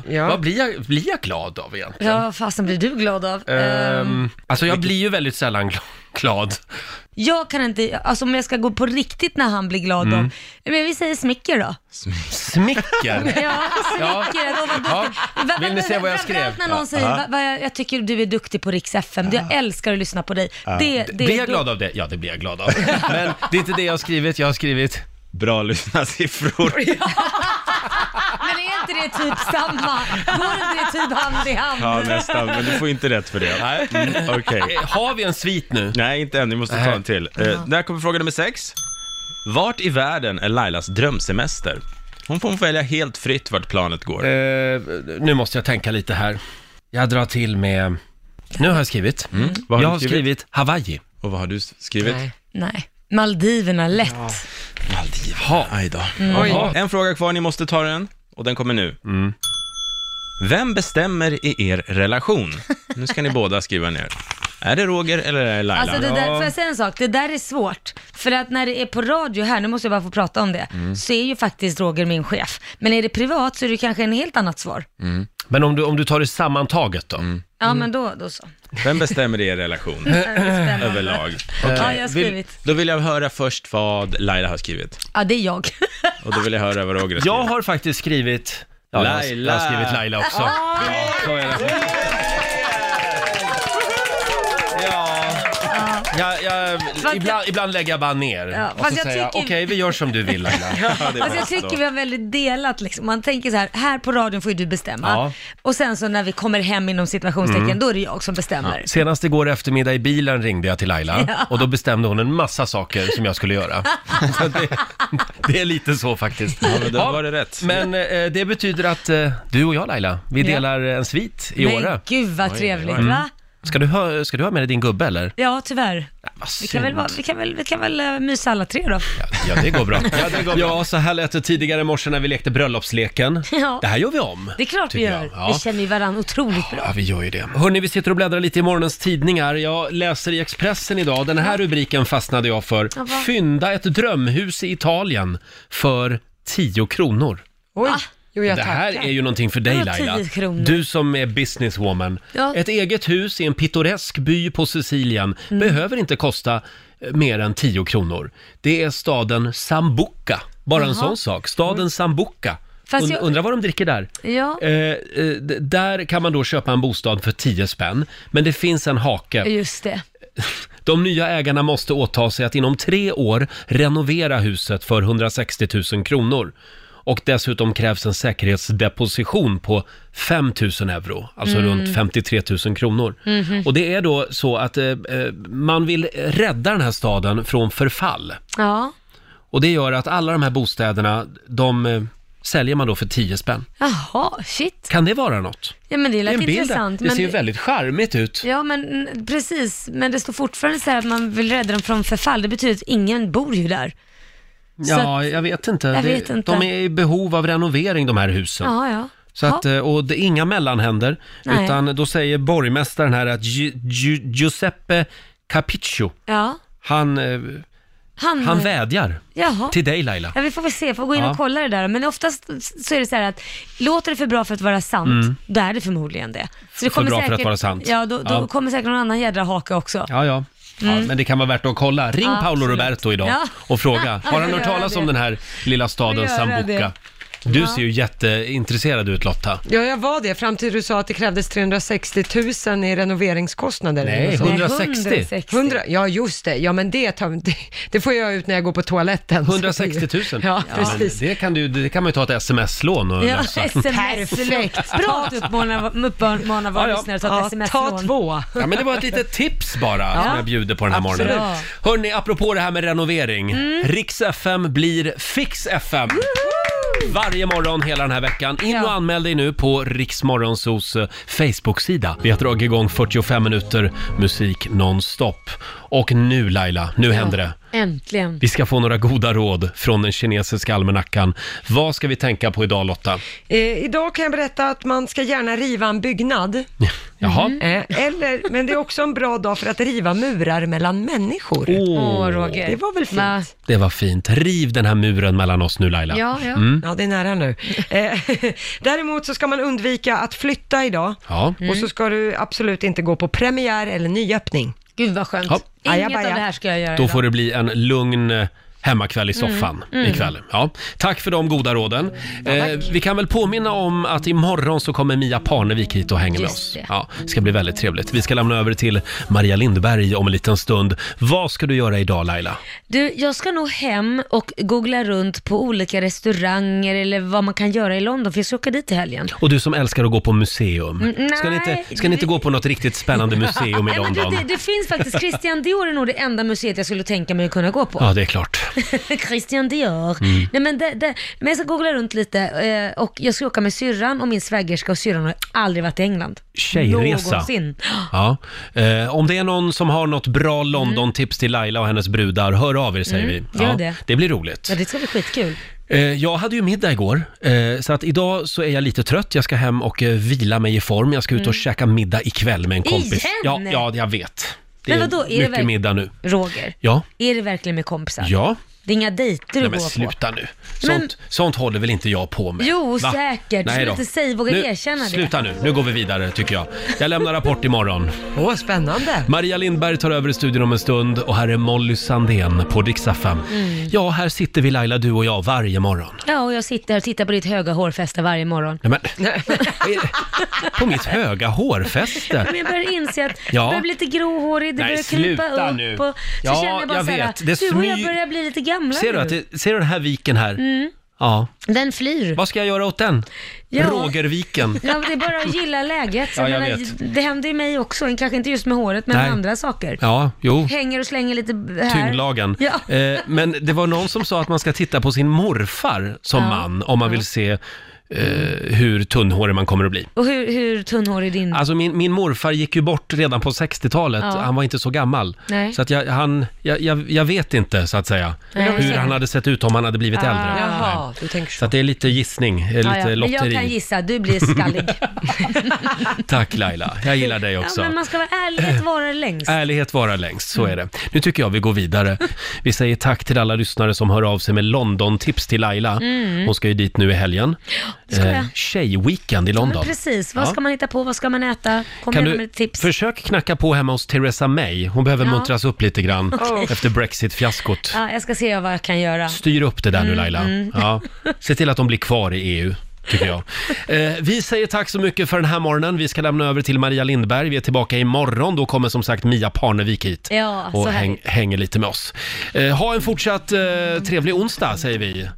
Speaker 3: Ja.
Speaker 1: Vad blir jag, blir jag glad av egentligen?
Speaker 2: Ja, vad fasen blir du glad av? Ehm,
Speaker 1: Ehm, alltså jag blir ju väldigt sällan gl- glad.
Speaker 2: Jag kan inte, alltså om jag ska gå på riktigt när han blir glad
Speaker 1: Mm.
Speaker 2: av, men vi säger smicker då.
Speaker 1: Smicker?
Speaker 2: Ja, alltså, smicker, och vad duktig.
Speaker 1: Ja.
Speaker 2: Va- va-
Speaker 1: Vill ni se vad jag skrev?
Speaker 2: Framförallt när någon säger, va, va, jag tycker du är duktig på Rix FM, jag älskar att lyssna på dig. Det, det,
Speaker 1: blir jag glad av det? Ja, det blir jag glad av. Men det är inte det jag har skrivit, jag har skrivit...
Speaker 5: Bra lyssnarsiffror.
Speaker 2: Men är inte det typ samma? Går inte det typ hand i hand?
Speaker 5: Ja, nästan, men du får inte rätt för det. Nej. Mm, okej.
Speaker 1: Har vi en svit nu?
Speaker 5: Nej, inte än. Vi måste ta en till. Eh, där kommer fråga nummer sex. Vart i världen är Lailas drömsemester? Hon får välja helt fritt vart planet går.
Speaker 1: Eh, nu måste jag tänka lite här. Jag drar till med... Nu har jag skrivit.
Speaker 5: Mm. Vad har
Speaker 1: jag
Speaker 5: du
Speaker 1: har skrivit? Hawaii.
Speaker 5: Och vad har du skrivit?
Speaker 2: Nej, Maldiverna, lätt.
Speaker 5: Maldiverna. Aj då.
Speaker 2: Mm. Oj.
Speaker 5: Jaha. Mm. En fråga kvar, ni måste ta den. Och den kommer nu. Vem bestämmer i er relation? Nu ska ni båda skriva ner. Är det Roger eller är det Laila?
Speaker 2: Alltså det där, får jag säga en sak? Det där är svårt. För att när det är på radio här, nu måste jag bara få prata om det,
Speaker 1: Mm.
Speaker 2: så är ju faktiskt Roger min chef. Men är det privat så är det kanske en helt annat svar.
Speaker 5: Mm.
Speaker 1: Men om du, om du tar det sammantaget då?
Speaker 2: Ja, men då, då så.
Speaker 5: Vem bestämmer i er relation?
Speaker 2: Det här är spännande.
Speaker 5: Överlag.
Speaker 2: Ja,
Speaker 5: Okej.
Speaker 2: jag har skrivit.
Speaker 5: Då vill jag höra först vad Laila har skrivit.
Speaker 2: Ja, det är jag.
Speaker 5: Och då vill jag höra vad Roger har skrivit.
Speaker 1: Jag har faktiskt skrivit... Ja, jag har-
Speaker 5: Laila.
Speaker 1: Jag har skrivit Laila också. Ja, så är det.
Speaker 2: Ja.
Speaker 1: Jag, jag, ibland, ibland lägger jag bara ner.
Speaker 2: Ja,
Speaker 1: och
Speaker 2: fast
Speaker 1: så
Speaker 2: jag
Speaker 1: säger jag, okej
Speaker 2: tycker-
Speaker 1: vi gör som du vill Laila.
Speaker 2: Alltså jag tycker vi har väldigt delat liksom. Man tänker så här, här på radion får ju du bestämma.
Speaker 1: Ja.
Speaker 2: Och sen så när vi kommer hem inom situationstecken,
Speaker 1: Mm.
Speaker 2: då är det jag som bestämmer.
Speaker 1: Senast igår eftermiddag i bilen ringde jag till Laila
Speaker 2: Ja.
Speaker 1: och då bestämde hon en massa saker som jag skulle göra. Så det, det är lite så faktiskt. Ja,
Speaker 5: men då var det rätt.
Speaker 1: Men eh, det betyder att eh, du och jag Laila, vi
Speaker 2: Ja.
Speaker 1: delar en svit i
Speaker 2: Men
Speaker 1: Åre.
Speaker 2: gud, vad
Speaker 1: Oj, oj, oj.
Speaker 2: trevligt,
Speaker 1: Mm.
Speaker 2: va?
Speaker 1: Ska du, ha, ska du ha med dig din gubbe eller?
Speaker 2: Ja, tyvärr. vi, kan
Speaker 1: synd.
Speaker 2: väl, vara- vi, kan väl, vi kan väl eh, mysa alla tre då.
Speaker 1: Ja, det går bra. Ja, ja så här lät det tidigare i morse när vi lekte bröllopsleken.
Speaker 2: Ja.
Speaker 1: Det här gör vi om.
Speaker 2: Det är klart vi
Speaker 1: tycker
Speaker 2: gör.
Speaker 1: jag. Ja.
Speaker 2: Vi känner ju varandra otroligt bra.
Speaker 1: Ja, vi gör ju det. Hörni, vi sitter och bläddrar lite i morgonens tidningar. Jag läser i Expressen idag. Den här rubriken fastnade jag för.
Speaker 2: Ja, vad?
Speaker 1: Fynda ett drömhus i Italien för 10 kronor.
Speaker 2: Ah.
Speaker 3: Oj, jo jag
Speaker 1: det här
Speaker 3: tackar.
Speaker 1: är ju någonting för dig
Speaker 3: Vadå
Speaker 1: Laila.
Speaker 3: 10 kronor?
Speaker 1: Du som är businesswoman.
Speaker 3: Ja.
Speaker 1: Ett eget hus i en pittoresk by på Sicilien
Speaker 2: Mm.
Speaker 1: behöver inte kosta eh, mer än 10 kronor. Det är staden Sambuca. Bara en
Speaker 2: Jaha. Mm.
Speaker 1: sån sak. Staden Sambuca.
Speaker 2: Fast
Speaker 1: Und-
Speaker 2: jag-
Speaker 1: Undrar vad de dricker där?
Speaker 2: Ja.
Speaker 1: Eh, eh, d- där kan man då köpa en bostad för 10 spänn, men det finns en hake.
Speaker 2: Just det.
Speaker 1: De nya ägarna måste åta sig att inom tre år renovera huset för 160 000 kronor. Och dessutom krävs en säkerhetsdeposition på 5 000 euro, alltså
Speaker 2: Mm.
Speaker 1: runt 53 000 kronor.
Speaker 2: Mhm.
Speaker 1: Och det är då så att eh, eh, man vill rädda den här staden från förfall.
Speaker 2: Ja,
Speaker 1: Och det gör att alla de här bostäderna, de eh, säljer man då för 10 spänn.
Speaker 2: jaha, shit.
Speaker 1: Kan det vara något?
Speaker 2: Ja men det
Speaker 1: Det är
Speaker 2: lät
Speaker 1: en bild där.
Speaker 2: intressant.
Speaker 1: Det
Speaker 2: men...
Speaker 1: ser ju väldigt charmigt ut.
Speaker 2: Ja men mm, precis, men det står fortfarande så här att man vill rädda dem från förfall. Det betyder att ingen bor ju där. Så
Speaker 1: Ja, jag vet inte.
Speaker 2: jag
Speaker 1: Det-
Speaker 2: vet inte.
Speaker 1: De är i behov av renovering de här husen.
Speaker 2: Ja, ja.
Speaker 1: Så att, eh, och det är inga mellanhänder,
Speaker 2: Nej.
Speaker 1: utan då säger borgmästaren här att Gi- Gi- Giuseppe Capiccio,
Speaker 2: Ja,
Speaker 1: han, eh,
Speaker 2: han... eh,
Speaker 1: han vädjar
Speaker 2: Jaha.
Speaker 1: till dig Laila.
Speaker 2: Ja, vi får väl se, får gå in
Speaker 1: Ja.
Speaker 2: och kolla det där. Men oftast så är det så här att, låter det för bra för att vara sant,
Speaker 1: Mm.
Speaker 2: då är det förmodligen det. Så det
Speaker 1: För bra för att vara sant.
Speaker 2: Ja, då, då
Speaker 1: Ja.
Speaker 2: kommer säkert någon annan jädra haka också.
Speaker 1: Ja, ja. Ja,
Speaker 2: Mm.
Speaker 1: men det kan vara värt att kolla. Ring Paolo
Speaker 2: Absolut.
Speaker 1: Roberto idag
Speaker 2: Ja.
Speaker 1: och fråga. Har han hört
Speaker 2: Gör
Speaker 1: talas
Speaker 2: det.
Speaker 1: om den här lilla
Speaker 2: Gör
Speaker 1: staden
Speaker 2: det.
Speaker 1: Sambuca? Du
Speaker 3: Ja.
Speaker 1: ser ju jätteintresserad ut Lotta.
Speaker 3: Ja, jag var det fram till du sa att det krävdes 360 000 i renoveringskostnader.
Speaker 1: Nej,
Speaker 3: eller något sånt.
Speaker 1: 160.
Speaker 3: 100, ja, just det. Ja, men det, tar, det, det får jag ut när jag går på toaletten.
Speaker 1: 160 000.
Speaker 3: Ja,
Speaker 1: men
Speaker 3: precis.
Speaker 1: det, kan du, det kan man ju ta ett sms-lån och
Speaker 2: Ja,
Speaker 1: lösa.
Speaker 2: sms-lån. Bra att uppmana uppmana våra lyssnare att ta ett sms-lån.
Speaker 3: ta två.
Speaker 1: Ja, men det var ett litet tips bara
Speaker 2: Ja.
Speaker 1: som jag bjuder på den här
Speaker 2: Absolut.
Speaker 1: morgonen. Hörni, apropå det här med renovering.
Speaker 2: Mm.
Speaker 1: Rix FM blir Fix FM. Varje morgon hela den här veckan. In och anmäl dig nu på Riksmorgonsos eh, Facebook-sida. Vi har dragit igång 45 minuter musik nonstop. Och nu Laila, nu händer det.
Speaker 2: Äntligen.
Speaker 1: Vi ska få några goda råd från den kinesiska almanackan. Vad ska vi tänka på idag Lotta?
Speaker 3: Eh, idag kan jag berätta att man ska gärna riva en byggnad.
Speaker 1: Jaha.
Speaker 3: Eh, eller, men det är också en bra dag för att riva murar mellan människor.
Speaker 1: Åh, Roger.
Speaker 3: Det var väl fint?
Speaker 1: Det var fint. Riv den här muren mellan oss nu Laila.
Speaker 3: Ja, ja.
Speaker 1: Mm.
Speaker 3: ja det är nära nu. Eh, Däremot så ska man undvika att flytta idag.
Speaker 1: Ja.
Speaker 3: Och så ska du absolut inte gå på premiär eller nyöppning.
Speaker 2: Gud vad skönt.
Speaker 1: Ja.
Speaker 2: Inget av det här ska jag göra
Speaker 1: Då
Speaker 2: idag.
Speaker 1: får det bli en lugn eh, hemmakväll i
Speaker 2: Mm,
Speaker 1: soffan
Speaker 2: mm.
Speaker 1: ikväll. Ja. Tack för de goda råden. eh, vi kan väl påminna om att imorgon så kommer Mia Parnevik hit och hänger med
Speaker 2: Just
Speaker 1: oss.
Speaker 2: det.
Speaker 1: Ja, det ska bli väldigt trevligt. Vi ska lämna över till Maria Lindberg om en liten stund. Vad ska du göra idag Laila?
Speaker 2: Du, jag ska nog hem och googla runt på olika restauranger eller vad man kan göra i London, för jag ska åka dit i helgen.
Speaker 1: Och du som älskar att gå på museum.
Speaker 2: Mm,
Speaker 1: Ska ni
Speaker 2: nej,
Speaker 1: inte, ska ni inte gå på något riktigt spännande museum i
Speaker 2: Nej, men du,
Speaker 1: London?
Speaker 2: det, det finns faktiskt, Christian Dior är nog det enda museet jag skulle tänka mig att kunna gå på.
Speaker 1: Ja, det är klart.
Speaker 2: Christian Dior.
Speaker 1: Mm.
Speaker 2: Nej, men, det, det, men jag ska googla runt lite eh, och jag ska åka med syrran och min svägerska och syrran har aldrig varit i England.
Speaker 1: Tjejresa.
Speaker 2: Någonsin.
Speaker 1: Ja. Eh, om det är någon som har något bra London-tips till Laila och hennes brudar, hör av er säger
Speaker 2: Mm,
Speaker 1: vi.
Speaker 2: gör
Speaker 1: Ja,
Speaker 2: det.
Speaker 1: det blir roligt.
Speaker 2: Ja, det ska bli skitkul.
Speaker 1: Eh, Jag hade ju middag igår, eh, så att idag så är jag lite trött. Jag ska hem och eh, vila mig i form. Jag ska ut och
Speaker 2: Mm.
Speaker 1: käka middag ikväll med en kompis.
Speaker 2: Igen?
Speaker 1: Ja, ja, jag vet. Det är,
Speaker 2: Men vadå, är det
Speaker 1: mycket
Speaker 2: verk-
Speaker 1: middag nu.
Speaker 2: Roger,
Speaker 1: Ja,
Speaker 2: är det verkligen med kompisar?
Speaker 1: ja.
Speaker 2: Det är inga dejter du
Speaker 1: Nej,
Speaker 2: går
Speaker 1: men
Speaker 2: på?
Speaker 1: sluta nu. Sånt,
Speaker 2: Men-
Speaker 1: sånt håller väl inte jag på med?
Speaker 2: Jo,
Speaker 1: Va?
Speaker 2: säkert.
Speaker 1: Nej
Speaker 2: Sluta
Speaker 1: då.
Speaker 2: säga, våga
Speaker 1: nu,
Speaker 2: erkänna det.
Speaker 1: Sluta nu, nu går vi vidare tycker jag. Jag lämnar rapport imorgon.
Speaker 3: Åh, spännande.
Speaker 1: Maria Lindberg tar över i studion om en stund och här är Molly Sandén på Dix FM.
Speaker 2: Mm.
Speaker 1: Ja, här sitter vi Laila, du och jag varje morgon.
Speaker 2: Ja, och jag sitter här och tittar på ditt höga hårfäste varje morgon.
Speaker 1: Nej, men, på mitt höga hårfäste.
Speaker 2: Men jag börjar inse att
Speaker 1: Ja.
Speaker 2: jag börjar bli lite gråhårig, det
Speaker 1: Nej,
Speaker 2: börjar krypa
Speaker 1: sluta
Speaker 2: upp
Speaker 1: nu.
Speaker 2: och så
Speaker 1: Ja,
Speaker 2: känner jag bara
Speaker 1: jag
Speaker 2: så här,
Speaker 1: vet. Det
Speaker 2: du och jag
Speaker 1: smy-
Speaker 2: börjar bli lite gamla
Speaker 1: Ser du,
Speaker 2: nu.
Speaker 1: att det, ser du den här viken här?
Speaker 2: Mm,
Speaker 1: Ja.
Speaker 2: den flyr.
Speaker 1: Vad ska jag göra åt den?
Speaker 2: Ja.
Speaker 1: Rogerviken.
Speaker 2: Ja, det är bara att gilla läget.
Speaker 1: Ja, jag
Speaker 2: menar,
Speaker 1: vet.
Speaker 2: Det händer ju mig också, kanske inte just med håret, men
Speaker 1: Nej.
Speaker 2: med andra saker.
Speaker 1: Ja, Oh. jo.
Speaker 2: Hänger och slänger lite här.
Speaker 1: Tyngdlagen.
Speaker 2: Äh, Ja.
Speaker 1: Eh, men det var någon som sa att man ska titta på sin morfar som
Speaker 2: Ja.
Speaker 1: man om man vill se eh, hur tunnhårig man kommer att bli.
Speaker 2: Och hur, hur tunnhårig din...
Speaker 1: Alltså min, min morfar gick ju bort redan på 60-talet,
Speaker 2: Ja.
Speaker 1: han var inte så gammal.
Speaker 2: Nej.
Speaker 1: Så att jag, han, jag, jag, jag vet inte så att säga
Speaker 2: Nej.
Speaker 1: hur han hade sett ut om han hade blivit äldre.
Speaker 3: Jaha, du tänker
Speaker 1: Så att det är lite gissning, eh, lite
Speaker 2: Ah. Ja, ja. Men jag
Speaker 1: lotteri.
Speaker 2: kan gissa, du blir skallig.
Speaker 1: Tack Laila, jag gillar dig
Speaker 2: ja,
Speaker 1: också. Äh,
Speaker 2: men man ska vara ärlig att vara längst.
Speaker 1: Ärlighet varar längst, så
Speaker 2: Mm.
Speaker 1: är det. Nu tycker jag vi går vidare. Vi säger tack till alla lyssnare som hör av sig med London-tips till Laila.
Speaker 2: Mm.
Speaker 1: Hon ska ju dit nu i helgen. Eh,
Speaker 2: ska jag?
Speaker 1: tjejweekend i London.
Speaker 2: Men precis, vad
Speaker 1: Ja.
Speaker 2: ska man hitta på, vad ska man äta? Kom
Speaker 1: Kan
Speaker 2: igen
Speaker 1: du
Speaker 2: med tips.
Speaker 1: försök knacka på hemma hos Theresa May? Hon behöver
Speaker 2: Ja.
Speaker 1: muntras upp lite grann
Speaker 2: Okej.
Speaker 1: efter Brexit-fiaskot.
Speaker 2: Ja, jag ska se vad jag kan göra.
Speaker 1: Styr upp det där nu
Speaker 2: Mm,
Speaker 1: Laila.
Speaker 2: mm.
Speaker 1: Ja. Se till att de blir kvar i EU. Tycker jag. Eh, vi säger tack så mycket för den här morgonen. Vi ska lämna över till Maria Lindberg. Vi är tillbaka imorgon. Då kommer som sagt Mia Parnevik hit
Speaker 2: Ja, så
Speaker 1: och
Speaker 2: härligt.
Speaker 1: häng, hänger lite med oss. Eh, ha en fortsatt eh, trevlig onsdag säger vi.